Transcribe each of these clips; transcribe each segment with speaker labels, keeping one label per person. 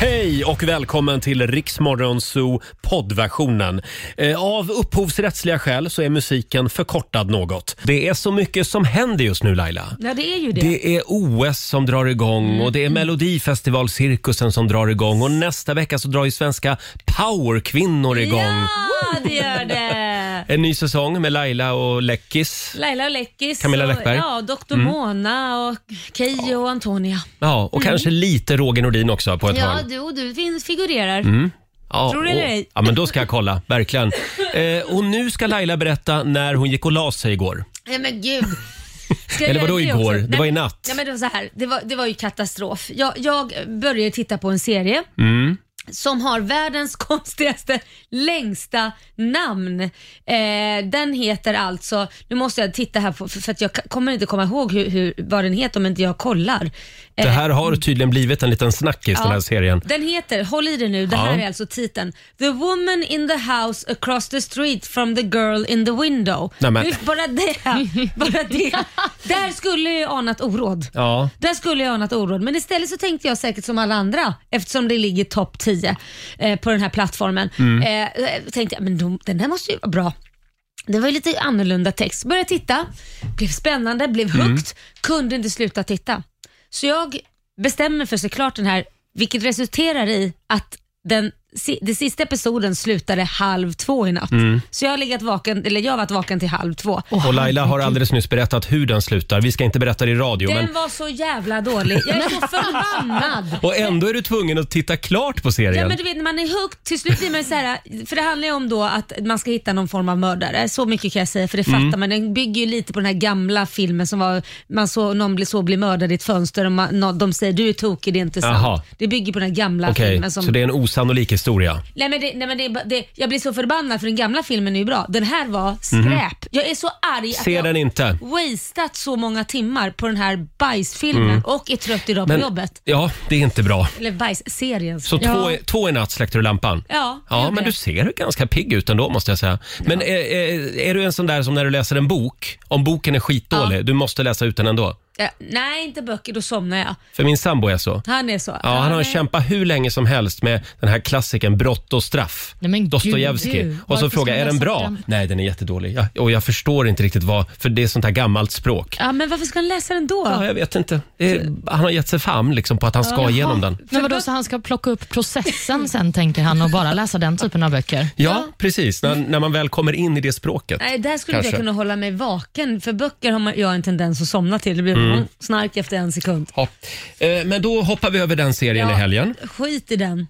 Speaker 1: Hej och välkommen till Riksmorgon Zoo poddversionen. Eh, Av upphovsrättsliga skäl så är musiken förkortad något. Det är så mycket som händer just nu Laila.
Speaker 2: Ja, Mm. det är ju det.
Speaker 1: Det är OS som drar igång och det är Melodifestivalcirkusen som drar igång och nästa vecka så drar ju svenska powerkvinnor igång.
Speaker 2: Ja, det gör det.
Speaker 1: En ny säsong med Laila och Läckis.
Speaker 2: Laila och Läckis.
Speaker 1: Camilla
Speaker 2: och-
Speaker 1: Läckberg. Mm.
Speaker 2: Ja, Dr. Mona och Keyyo och Antonia.
Speaker 1: Ja, och kanske lite Roger Nordin också på ett
Speaker 2: Mm. Ja,
Speaker 1: hörn.
Speaker 2: du och du finns, figurerar.
Speaker 1: Mm. Ja,
Speaker 2: Tror du
Speaker 1: och-
Speaker 2: eller ej?
Speaker 1: Ja, men då ska jag kolla. Verkligen. Eh, och nu ska Laila berätta när hon gick och la sig igår.
Speaker 2: Nej men gud. Ska jag
Speaker 1: Eller vadå
Speaker 2: göra det
Speaker 1: igår?
Speaker 2: också?
Speaker 1: Det var i natt.
Speaker 2: Nej, men det, var så här. Det, var, det var ju katastrof. Jag, jag började titta på en serie
Speaker 1: Mm.
Speaker 2: som har världens konstigaste, längsta namn. Eh, den heter alltså, nu måste jag titta här på, för för att jag ka- kommer inte komma ihåg hur, hur, vad den heter om inte jag kollar. Eh,
Speaker 1: Det här har tydligen blivit en liten snackis, den här serien.
Speaker 2: Den heter, håll i det nu, det
Speaker 1: Ja.
Speaker 2: här är alltså titeln. The woman in the house across the street from the girl in the window.
Speaker 1: Nej, men-
Speaker 2: Nu, Bara det, bara det. Där skulle jag ju anat oråd.
Speaker 1: Ja.
Speaker 2: Där skulle jag anat oråd, men istället så tänkte jag säkert som alla andra eftersom det ligger topp 10 eh, på den här plattformen. Eh, eh, tänkte jag, men de, den där måste ju vara bra. Det var ju lite annorlunda text. Började titta, blev spännande, blev högt, kunde inte sluta titta. Så jag bestämmer mig för såklart den här, vilket resulterar i att den, si- den sista episoden slutade halv två i natt. Så jag har, legat vaken, eller jag har varit vaken till halv två.
Speaker 1: Och Laila har alldeles nyss berättat hur den slutar. Vi ska inte berätta det i radio. Men...
Speaker 2: Den var så jävla dålig. Jag är så förbannad.
Speaker 1: Och ändå är du tvungen att titta klart på
Speaker 2: Ja,
Speaker 1: serien.
Speaker 2: men du vet när man är högt, till slut blir man så här, för det handlar ju om då att man ska hitta någon form av mördare. Så mycket kan jag säga för det fattar
Speaker 1: Mm.
Speaker 2: man. Den bygger ju lite på den här gamla filmen som var, man såg någon bli, så bli mördad i ett fönster och man, nå- de säger du är tokig, det är inte sant.
Speaker 1: Jaha.
Speaker 2: Det bygger på den här gamla
Speaker 1: Okej,
Speaker 2: filmen. Som,
Speaker 1: så det är en osannolik historia.
Speaker 2: Nej men, det, nej, men det, är bara- det, jag blir så förbannad för den gamla filmen är ju bra. Den här var skräp. Jag är så arg att
Speaker 1: Mhm. Se
Speaker 2: jag
Speaker 1: den inte.
Speaker 2: wastat så många timmar på den här bajsfilmen och är trött idag på
Speaker 1: Mm. Men-
Speaker 2: jobbet.
Speaker 1: Ja, det är inte bra.
Speaker 2: Eller bajsserien.
Speaker 1: Så två, i- två i natt släckte du lampan?
Speaker 2: Ja, jag
Speaker 1: Ja,
Speaker 2: gjorde
Speaker 1: men
Speaker 2: det.
Speaker 1: du ser ganska pigg ut ändå måste jag säga. Men är, är, är du en sån där som när du läser en bok, om boken är skitdålig, du måste läsa ut den ändå?
Speaker 2: Ja, nej, inte böcker, då somnar jag.
Speaker 1: För min sambo är så.
Speaker 2: Han är så.
Speaker 1: Ja, han har
Speaker 2: är-
Speaker 1: kämpat hur länge som helst med den här klassikern Brott och straff.
Speaker 3: Nej, men gud, du.
Speaker 1: Dostojevskij. Och
Speaker 3: Varför
Speaker 1: så
Speaker 3: ska
Speaker 1: frågar jag,
Speaker 3: man
Speaker 1: är den
Speaker 3: läsa
Speaker 1: bra?
Speaker 3: den?
Speaker 1: Nej, den är jättedålig. Ja, och jag förstår inte riktigt vad, för det är sånt här gammalt språk.
Speaker 2: Ja, men varför ska han läsa den då?
Speaker 1: Ja, jag vet inte. Det är, han har gett sig fram liksom på att han ska igenom den.
Speaker 3: Men vadå, så han ska plocka upp processen sen tänker han och bara läsa den typen av böcker?
Speaker 1: Ja, precis. När, när man väl kommer in i det språket.
Speaker 2: Nej, där skulle
Speaker 1: Kanske.
Speaker 2: jag kunna hålla mig vaken. För böcker har man, jag en tendens att somna till. Det blir mm. snark efter en sekund.
Speaker 1: Ja. Eh, Men då hoppar vi över den serien
Speaker 2: Ja,
Speaker 1: i helgen. Mm.
Speaker 2: Skit i den.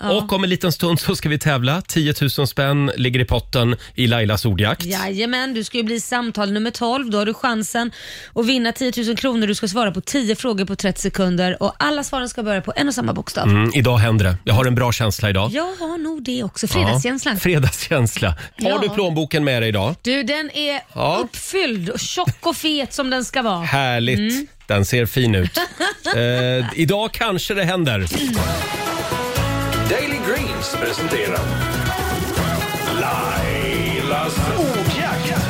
Speaker 1: Och om en liten stund så ska vi tävla. 10 000 spänn ligger i potten i Lailas ordjakt.
Speaker 2: Jajamän, du ska ju bli samtal nummer 12. Då har du chansen att vinna 10 000 kronor. Du ska svara på 10 frågor på 30 sekunder och alla svaren ska börja på en och samma bokstav.
Speaker 1: Mm, idag händer det. Jag har en bra känsla idag.
Speaker 2: Jag har nog det också.
Speaker 1: Ja.
Speaker 2: Fredagskänslan.
Speaker 1: Fredagskänsla. Har
Speaker 2: Ja.
Speaker 1: du plånboken med dig idag?
Speaker 2: Du, den är
Speaker 1: Ja.
Speaker 2: uppfylld och tjock och fet som den ska vara.
Speaker 1: Härligt.
Speaker 2: Mm.
Speaker 1: Den ser fin ut. eh, idag kanske det händer.
Speaker 4: Daily Greens presenterar Lailas ordjakt.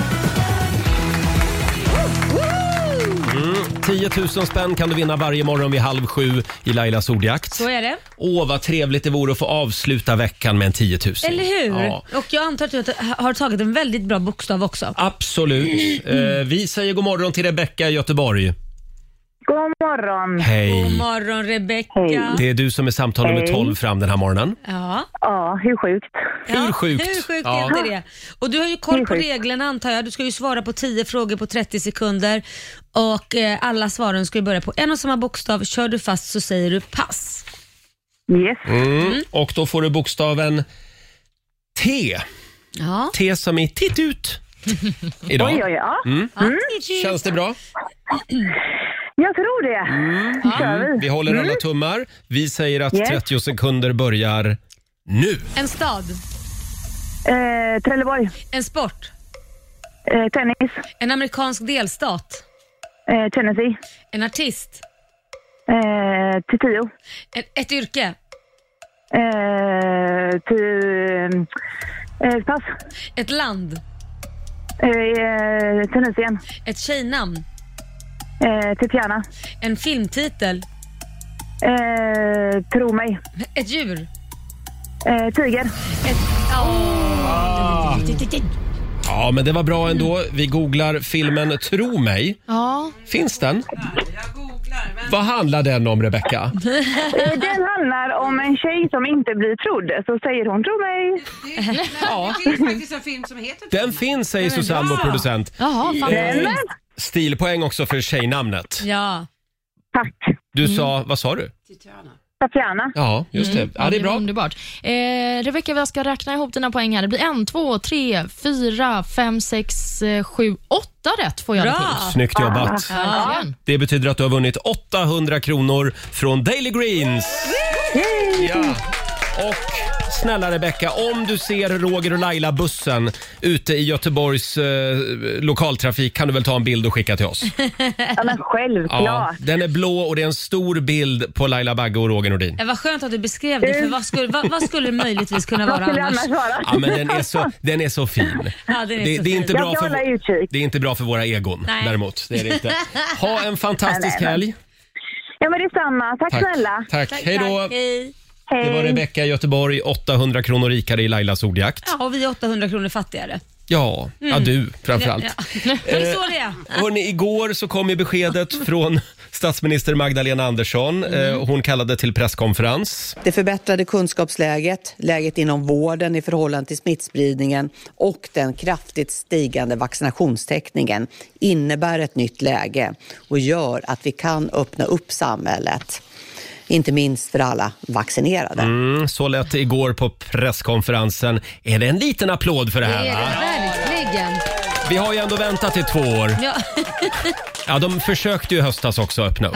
Speaker 1: 10 000 spänn kan du vinna varje morgon vid halv sju i Lailas ordjakt.
Speaker 2: Så är det.
Speaker 1: Åh, vad trevligt det vore att få avsluta veckan med en 10 000.
Speaker 2: Eller hur?
Speaker 1: Ja.
Speaker 2: Och jag antar att du har tagit en väldigt bra bokstav också.
Speaker 1: Absolut. Eh, vi säger god morgon till Rebecka i Göteborg.
Speaker 5: God morgon.
Speaker 2: God
Speaker 1: Hej.
Speaker 2: morgon Rebecka.
Speaker 5: Hej.
Speaker 1: Det är du som är samtal nummer
Speaker 5: Hej.
Speaker 1: 12 fram den här morgonen.
Speaker 2: Ja.
Speaker 5: Ja, hur sjukt.
Speaker 1: Hur
Speaker 2: ja.
Speaker 1: sjukt?
Speaker 2: Hur sjukt
Speaker 1: Ja.
Speaker 2: är inte det? Och du har ju koll
Speaker 5: Hur
Speaker 2: på
Speaker 5: sjukt.
Speaker 2: reglerna antar jag. Du ska ju svara på 10 frågor på 30 sekunder och eh, alla svaren ska ju börja på en och samma bokstav. Kör du fast så säger du pass.
Speaker 5: Yes.
Speaker 1: Mm. Och då får du bokstaven T.
Speaker 2: Ja.
Speaker 1: T som i titt ut. Idag.
Speaker 5: Oj, oj, ja.
Speaker 1: Mm.
Speaker 5: Mm.
Speaker 1: Känns det bra?
Speaker 5: Jag tror det. Mm. kör vi.
Speaker 1: Vi håller alla tummar. Vi säger att
Speaker 5: Yes.
Speaker 1: 30 sekunder börjar nu.
Speaker 2: En stad,
Speaker 5: Eh, Trelleborg.
Speaker 2: en sport,
Speaker 5: Eh, tennis.
Speaker 2: en amerikansk delstat,
Speaker 5: Eh, Tennessee.
Speaker 2: en artist,
Speaker 5: Eh, till tio.
Speaker 2: en, ett yrke,
Speaker 5: Eh, till... Eh, pass.
Speaker 2: ett land,
Speaker 5: Eh, Tunisien.
Speaker 2: ett tjejnamn,
Speaker 5: Eh, Tetiana.
Speaker 2: en filmtitel,
Speaker 5: Eh, tro mig.
Speaker 2: Ett djur.
Speaker 5: Eh, tiger.
Speaker 2: Ett... Oh.
Speaker 1: Ja, men det var bra ändå. Vi googlar filmen Tro mig.
Speaker 3: Ja.
Speaker 1: Finns den? Vad handlar den om, Rebecca?
Speaker 5: Eh, Den handlar om en tjej som inte blir trodd. Så säger hon tro mig.
Speaker 1: Ja.
Speaker 6: Det finns faktiskt en film som heter
Speaker 1: Den finns, säger Susanne, vår producent.
Speaker 3: Jaha, fan.
Speaker 1: Eh, stilpoäng också för tjejnamnet.
Speaker 2: Ja.
Speaker 5: Tack.
Speaker 1: Du sa, vad sa du?
Speaker 6: Titana.
Speaker 5: Tatiana.
Speaker 1: Ja, just det. Mm. Ja, det är bra.
Speaker 3: Underbart. Eh, Rebecka, jag ska räkna ihop dina poäng här. Det blir en, två, tre, fyra, fem, sex, eh, sju, åtta rätt får jag det till.
Speaker 2: Bra!
Speaker 1: Snyggt jobbat.
Speaker 3: Verkligen.
Speaker 1: Det betyder att du har vunnit 800 kronor från Daily Greens. Ja. Och snälla Rebecca, om du ser Roger och Laila-bussen ute i Göteborgs eh, lokaltrafik kan du väl ta en bild och skicka till oss?
Speaker 5: Ja, men självklart.
Speaker 1: den är blå och det är en stor bild på Laila Bagge och Roger Nordin.
Speaker 2: Eh, Vad skönt att du beskrev det, för vad skulle, vad, vad skulle det möjligtvis kunna
Speaker 5: Vad
Speaker 2: vara
Speaker 5: skulle jag annars
Speaker 2: annars?
Speaker 5: vara?
Speaker 1: Ja, men den är så, den är så fin.
Speaker 2: Ja, den är
Speaker 1: det,
Speaker 2: så
Speaker 1: det, är
Speaker 2: fin.
Speaker 1: inte
Speaker 5: Jag
Speaker 1: bra
Speaker 5: ska
Speaker 1: för,
Speaker 5: hålla utkik.
Speaker 1: det är inte bra för våra egon
Speaker 2: Nej.
Speaker 1: däremot. Det är det inte. Ha en fantastisk
Speaker 5: Nej, nej,
Speaker 1: helg.
Speaker 5: Ja, men detsamma. Tack, snälla.
Speaker 1: Tack. Hej då.
Speaker 2: Tack, hej.
Speaker 1: Det var
Speaker 5: Hej.
Speaker 1: Rebecca i Göteborg, 800 kronor rikare i Lailas ordjakt.
Speaker 2: Ja, och vi är 800 kronor fattigare.
Speaker 1: Ja, ja du framförallt.
Speaker 2: Mm. Ja. Det är så det är.
Speaker 1: Hörrni, igår så kom ju beskedet från statsminister Magdalena Andersson.
Speaker 2: Mm.
Speaker 1: Eh, Hon kallade till presskonferens.
Speaker 7: Det förbättrade kunskapsläget, läget inom vården i förhållande till smittspridningen och den kraftigt stigande vaccinationstäckningen innebär ett nytt läge och gör att vi kan öppna upp samhället, inte minst för alla vaccinerade.
Speaker 1: Mm, så lät det igår på presskonferensen. Är det en liten applåd för det
Speaker 2: Det
Speaker 1: här?
Speaker 2: är det
Speaker 1: Va?
Speaker 2: verkligen.
Speaker 1: Vi har ju ändå väntat i två år.
Speaker 2: Ja.
Speaker 1: Ja, de försökte ju i höstas också öppna upp.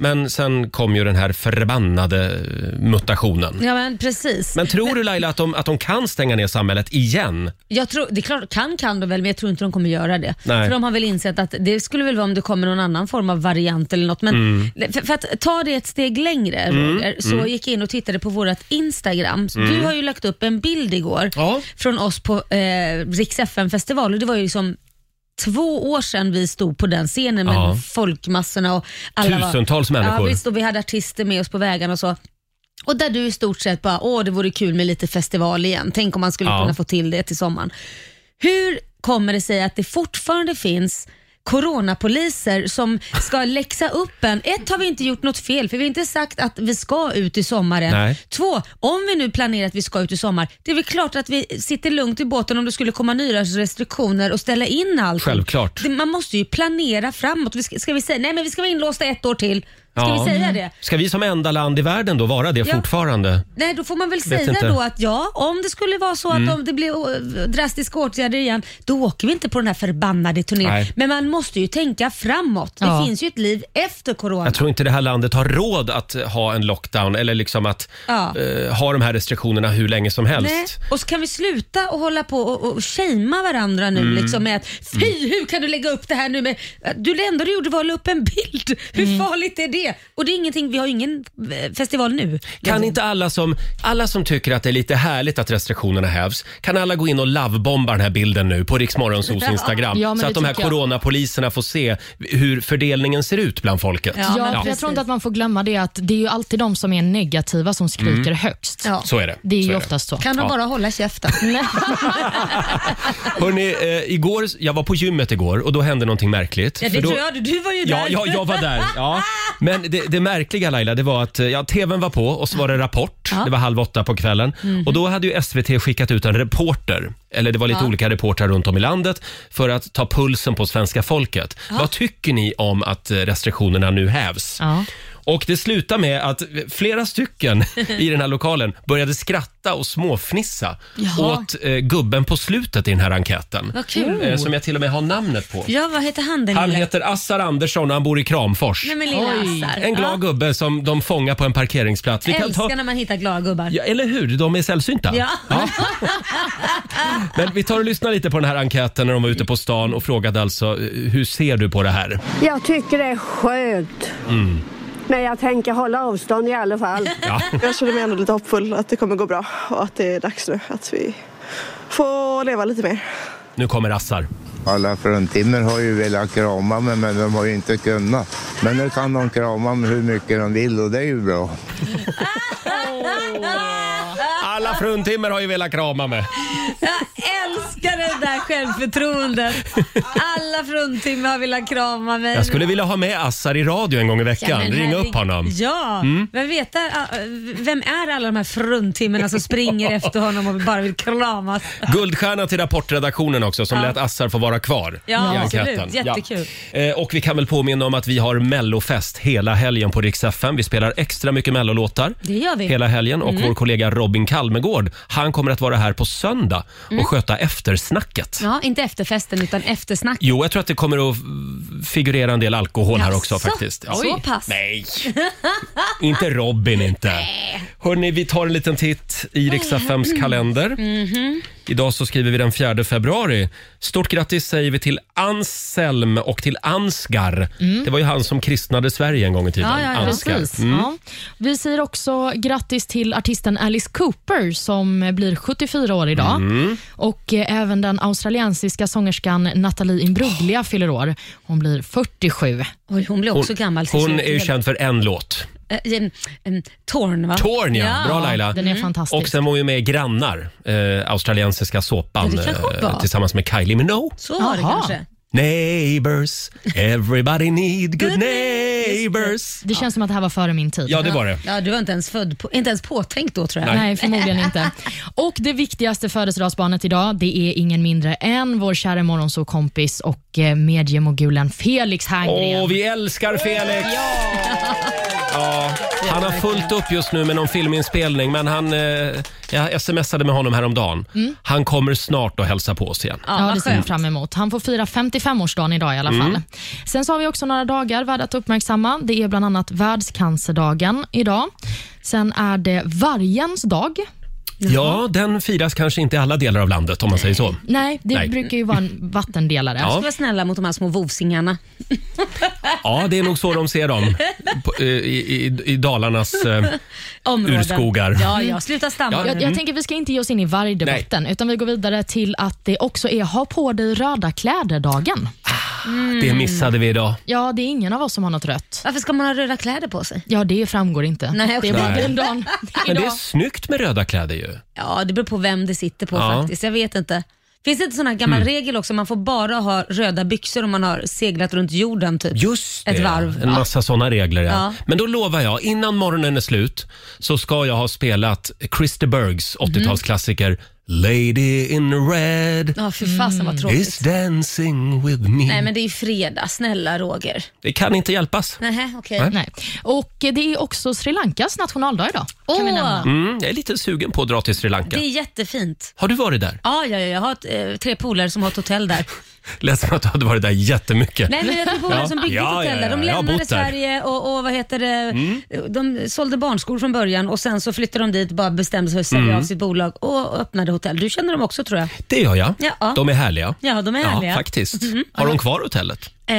Speaker 1: Men sen kom ju den här förbannade eh, mutationen.
Speaker 2: ja, men precis.
Speaker 1: Men tror du Laila att de, att de kan stänga ner samhället igen?
Speaker 2: Jag tror, det är klart, kan kan de väl, men jag tror inte de kommer göra det.
Speaker 1: Nej.
Speaker 2: För de har väl insett att det skulle väl vara om det kommer någon annan form av variant eller något. Men
Speaker 1: Mm.
Speaker 2: för, för att ta det ett steg längre Roger, så gick jag in och tittade på vårt Instagram. Så Du har ju lagt upp en bild igår
Speaker 1: Mm. Ja.
Speaker 2: från oss på eh, Rix FM-festival och det var ju liksom två år sedan vi stod på den scenen med
Speaker 1: Ja.
Speaker 2: folkmassorna och alla
Speaker 1: Tusentals
Speaker 2: var,
Speaker 1: människor.
Speaker 2: Ja, visst, och vi hade artister med oss på vägarna och så. Och där du i stort sett bara, åh det vore kul med lite festival igen. Tänk om man skulle
Speaker 1: Ja.
Speaker 2: kunna få till det till sommaren. Hur kommer det sig att det fortfarande finns coronapoliser som ska läxa upp en? Ett, har vi inte gjort något fel, för vi har inte sagt att vi ska ut i sommaren.
Speaker 1: Nej.
Speaker 2: Två, om vi nu planerar att vi ska ut i sommar, det är väl klart att vi sitter lugnt i båten om det skulle komma nya restriktioner och ställa in allt.
Speaker 1: Självklart.
Speaker 2: Det- Man måste ju planera framåt. Vi Ska, ska vi säga, nej men vi ska vara inlåsta ett år till. Ska
Speaker 1: Ja.
Speaker 2: vi säga det?
Speaker 1: Ska vi som enda land i världen då vara det
Speaker 2: Ja.
Speaker 1: fortfarande?
Speaker 2: Nej, då får man väl säga
Speaker 1: inte. Mm.
Speaker 2: då att ja, om det skulle vara så att om det blir eh, drastiska åtgärder igen, då åker vi inte på den här förbannade turnén.
Speaker 1: Nej.
Speaker 2: Men man måste ju tänka framåt.
Speaker 3: Ja.
Speaker 2: Det finns ju ett liv efter corona.
Speaker 1: Jag tror inte det här landet har råd att ha en lockdown eller liksom att
Speaker 2: Ja.
Speaker 1: eh, ha de här restriktionerna hur länge som helst.
Speaker 2: Nej. Och så kan vi sluta och hålla på och, och shamea varandra nu
Speaker 1: Mm.
Speaker 2: liksom med att fy hur kan du lägga upp det här nu med, du det enda du gjorde var att la upp en bild. Hur farligt är det? Och det är ingenting, vi har ju ingen eh, festival nu.
Speaker 1: Kan inte alla som, alla som tycker att det är lite härligt att restriktionerna hävs, kan alla gå in och lovebomba den här bilden nu på Riksmorgonsos
Speaker 2: Ja.
Speaker 1: Instagram?
Speaker 3: Ja, men
Speaker 1: så
Speaker 3: det
Speaker 1: att de här
Speaker 3: tycker jag.
Speaker 1: coronapoliserna får se hur fördelningen ser ut bland folket.
Speaker 2: Ja,
Speaker 3: Ja,
Speaker 2: men
Speaker 3: för jag
Speaker 2: precis.
Speaker 3: tror inte att man får glömma det att det är ju alltid de som är negativa som skriker högst.
Speaker 2: Ja.
Speaker 1: Så är det.
Speaker 3: Det är
Speaker 1: Mm. Så
Speaker 3: ju
Speaker 1: är
Speaker 3: oftast så.
Speaker 2: Kan de bara hålla käften?
Speaker 1: Hörrni, eh, igår, jag var på gymmet igår och då hände någonting märkligt.
Speaker 2: Ja,
Speaker 1: För
Speaker 2: det
Speaker 1: då,
Speaker 2: tror jag. Du var ju
Speaker 1: Ja,
Speaker 2: där.
Speaker 1: ja, jag var där. Ja. Men det, det märkliga Laila, det var att eh, ja, tvn var på och så var det Rapport. Det var halv åtta på kvällen.
Speaker 2: Mhm.
Speaker 1: Och då hade ju SVT skickat ut en reporter, eller det var lite olika reportrar runt om i landet, för att ta pulsen på svenska folket. Vad tycker ni om att eh, restriktionerna nu hävs?
Speaker 3: Ja.
Speaker 1: Och det slutade med att eh, flera stycken i den här lokalen började skratta och småfnissa åt eh, gubben på slutet i den här enkäten.
Speaker 2: Vad kul.
Speaker 1: Eh, som jag till och med har namnet på.
Speaker 2: Ja, vad heter han den
Speaker 1: Han
Speaker 2: lilla?
Speaker 1: heter Assar Andersson och han bor i Kramfors.
Speaker 2: Nej, men lilla Assar.
Speaker 1: En glad gubbe som de fångar på en parkeringsplats. Vi kan ta...
Speaker 2: Älskar när man hittar glada gubbar.
Speaker 1: Ja, eller hur? De är sällsynta.
Speaker 2: Ja.
Speaker 1: Men vi tar och lyssnar lite på den här enkäten när de var ute på stan och frågade alltså eh, hur ser du på det här?
Speaker 8: Jag tycker det är skönt.
Speaker 4: Mm.
Speaker 8: Men jag tänker hålla avstånd i alla fall.
Speaker 9: Jag känner mig ändå lite hoppfull att det kommer gå bra och att det är dags nu att vi får leva lite mer.
Speaker 1: Nu kommer Assar.
Speaker 10: Alla fruntimmer har ju velat krama mig men de har ju inte kunnat.
Speaker 6: Men nu kan de krama mig hur mycket de vill och det är ju bra.
Speaker 1: Alla fruntimmer har ju velat krama mig.
Speaker 2: Jag älskar det där självförtroendet. Alla fruntimmer har velat krama mig.
Speaker 1: Jag skulle vilja ha med Assar i radio en gång i
Speaker 2: Ja,
Speaker 1: veckan.
Speaker 2: men
Speaker 1: Ringa
Speaker 2: herregud.
Speaker 1: upp honom. Mm.
Speaker 2: Ja, vem, vet, äh, äh, vem är alla de här fruntimmerna som springer efter honom och bara vill kramas?
Speaker 1: Guldstjärna till Rapportredaktionen också som lät Assar få vara kvar
Speaker 2: Ja,
Speaker 1: i
Speaker 2: absolut.
Speaker 1: enkäten.
Speaker 2: Jättekul.
Speaker 1: Ja. Eh, Och vi kan väl påminna om att vi har mellofest hela helgen på Rix FM. Vi spelar extra mycket mellolåtar
Speaker 2: Det gör vi. Mm.
Speaker 1: hela helgen och vår kollega Robin Kalmegård, han kommer att vara här på söndag och
Speaker 2: Mm.
Speaker 1: sköta eftersnacket.
Speaker 2: Ja, inte efterfesten utan eftersnack.
Speaker 1: Jo, jag tror att det kommer att figurera en del alkohol här också
Speaker 2: Jaså?
Speaker 1: faktiskt. Ja.
Speaker 2: Så pass?
Speaker 1: Nej, inte Robin inte. Hörni, vi tar en liten titt i Riksaffems
Speaker 2: Mm.
Speaker 1: kalender.
Speaker 2: Mhm.
Speaker 1: Idag så skriver vi den 4 februari. Stort grattis säger vi till Anselm och till Ansgar. Det var ju han som kristnade Sverige en gång i tiden.
Speaker 2: Mm. Ja, ja, ja.
Speaker 1: Ansgar.
Speaker 3: Precis. Ja. Vi säger också grattis till artisten Alice Cooper som blir 74 år idag.
Speaker 1: Mm.
Speaker 3: Och eh, även den australiensiska sångerskan Nathalie Imbruglia fyller år. Hon blir 47.
Speaker 2: Oj, hon blir också gammal. till
Speaker 1: Hon
Speaker 2: slut.
Speaker 1: är ju känd för en låt.
Speaker 2: Eh, em, em, Torn, va?
Speaker 1: Torn ja, bra Laila.
Speaker 3: Den är fantastisk.
Speaker 1: Och sen var hon ju med i Grannar, eh, australiensiska såpan eh,
Speaker 2: Ja, det kanske hon var.
Speaker 1: tillsammans med Kylie Minogue.
Speaker 2: Så var det
Speaker 3: Jaha.
Speaker 2: kanske.
Speaker 1: Neighbors, everybody need good neighbors.
Speaker 3: det känns som att det här var före min tid.
Speaker 1: Ja, det var det.
Speaker 2: Ja, du var inte ens född på, inte ens påtänkt då tror jag.
Speaker 3: Nej, förmodligen inte. Och det viktigaste födelsedagsbarnet idag, det är ingen mindre än vår kära morgonsåkompis och eh, mediemogulen Felix Herngren.
Speaker 1: Åh, vi älskar Felix! Ja! han har fullt upp just nu med någon filminspelning, men han, eh, jag smsade med honom häromdagen. Han kommer snart och hälsa på oss igen.
Speaker 3: Ja,
Speaker 2: vad
Speaker 3: det ser vi
Speaker 2: skönt.
Speaker 3: fram emot. Han får fira 55-årsdagen idag i alla
Speaker 1: Mm.
Speaker 3: fall. Sen så har vi också några dagar värda att uppmärksamma. Det är bland annat världscancerdagen idag. Sen är det vargens dag.
Speaker 1: Ja, den firas kanske inte i alla delar av landet om man säger så.
Speaker 3: Nej, det
Speaker 1: Nej.
Speaker 3: brukar ju vara en vattendelare.
Speaker 1: Ja.
Speaker 2: Ska vara snälla mot de här små vovsingarna.
Speaker 1: Ja, det är nog så de ser dem på, eh, i, i, i Dalarnas... Eh,
Speaker 2: Områden.
Speaker 1: Urskogar.
Speaker 2: Ja, ja. Sluta stampa
Speaker 1: Ja.
Speaker 2: nu.
Speaker 3: Jag, jag tänker vi ska inte ge oss in i vargdebatten, utan vi går vidare till att det också är ha på dig röda kläder-dagen.
Speaker 1: Det missade vi idag.
Speaker 3: Ja, det är ingen av oss som har något rött.
Speaker 2: Varför ska man ha röda kläder på sig?
Speaker 3: Ja, det framgår inte.
Speaker 2: Nej,
Speaker 3: Det
Speaker 2: okej.
Speaker 3: är bara
Speaker 1: Nej.
Speaker 3: den dagen.
Speaker 1: Men det är
Speaker 3: idag.
Speaker 1: snyggt med röda kläder ju.
Speaker 2: Ja, det beror på vem det sitter på
Speaker 1: Ja.
Speaker 2: faktiskt. Jag vet inte. Finns det inte sån här gammal regel också? Man får bara ha röda byxor om man har seglat runt jorden typ.
Speaker 1: Just det.
Speaker 2: Ett varv.
Speaker 1: En massa såna regler. Ja.
Speaker 2: Ja.
Speaker 1: Men då lovar jag, innan morgonen är slut så ska jag ha spelat Christer Bergs
Speaker 2: Mm.
Speaker 1: 80-talsklassiker Lady in red
Speaker 2: Ja, fy fasen vad tråkigt.
Speaker 1: is dancing with me.
Speaker 2: Mm. Nej, men det är ju fredag. Snälla Roger.
Speaker 1: Det kan inte hjälpas.
Speaker 2: Nähä, okej.
Speaker 1: Nej.
Speaker 3: Nej. Och det är också Sri Lankas nationaldag idag. Kan vi
Speaker 2: Åh,
Speaker 3: nämna.
Speaker 1: Mm, jag är lite sugen på att dra till Sri Lanka.
Speaker 2: det är jättefint.
Speaker 1: Har du varit där?
Speaker 2: Ja, ja, ja, jag har ett, eh, tre polare som har ett hotell där.
Speaker 1: Lät som att du hade varit där jättemycket.
Speaker 2: Nej, men jag har tre polare
Speaker 1: Ja.
Speaker 2: som byggde
Speaker 1: Ja,
Speaker 2: ett
Speaker 1: ja,
Speaker 2: hotell
Speaker 1: ja,
Speaker 2: där. De
Speaker 1: jag har
Speaker 2: lämnade
Speaker 1: bott där. Mm.
Speaker 2: Sverige och, och vad heter det, de sålde barnskor från början och sen så flyttade de dit bara bestämde sig för att
Speaker 1: Mm.
Speaker 2: sälja av sitt bolag och öppnade hotell. Du känner dem också tror jag.
Speaker 1: Det gör jag.
Speaker 2: Ja.
Speaker 1: De är härliga.
Speaker 2: Ja, de är härliga. Mhm.
Speaker 1: Ja, faktiskt. Har de kvar hotellet?
Speaker 2: Eh,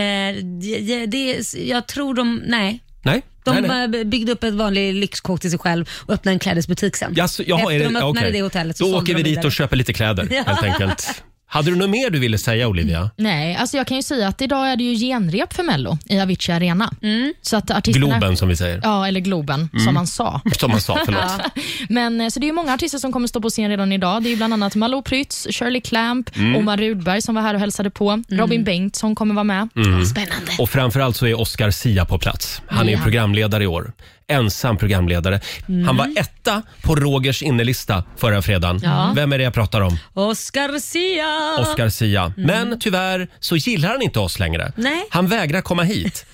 Speaker 2: det, det, jag tror de, nej.
Speaker 1: Nej.
Speaker 2: De eh,
Speaker 1: nej, nej.
Speaker 2: bara byggde upp ett vanligt lyxkåk till sig själv och öppnade en klädesbutik sen.
Speaker 1: Jaså, jaha,
Speaker 2: Efter
Speaker 1: är det,
Speaker 2: de öppnade
Speaker 1: okej.
Speaker 2: det hotellet så
Speaker 1: Då
Speaker 2: sålde
Speaker 1: åker vi
Speaker 2: de
Speaker 1: dit
Speaker 2: vidare.
Speaker 1: och köper lite kläder helt enkelt. Hade du något mer du ville säga Olivia?
Speaker 3: Nej, alltså jag kan ju säga att idag är det ju genrep för Mello i Avicii Arena.
Speaker 2: Mm.
Speaker 3: Så att artisterna,
Speaker 1: Globen Mm. som vi säger.
Speaker 3: Ja, eller Globen, som man sa.
Speaker 1: Som man sa, förlåt.
Speaker 3: Men, eh, så det är ju många artister som kommer stå på scen redan idag. Det är ju bland annat Malou Prytz, Shirley Clamp,
Speaker 1: Mm.
Speaker 3: Omar Rudberg som var här och hälsade på.
Speaker 2: Mm.
Speaker 3: Robin Bengtsson kommer vara med.
Speaker 1: Mm.
Speaker 2: Spännande.
Speaker 1: Och framförallt så är Oscar Sia på plats. Han är ju programledare i år. Ensam programledare. Han
Speaker 2: Mm.
Speaker 1: var etta på Rogers innelista förra fredagen. Vem är det jag pratar om?
Speaker 2: Oscar Sia.
Speaker 1: Oscar Sia. Men tyvärr så gillar han inte oss längre.
Speaker 2: Mm. Nej.
Speaker 1: Han vägrar komma hit.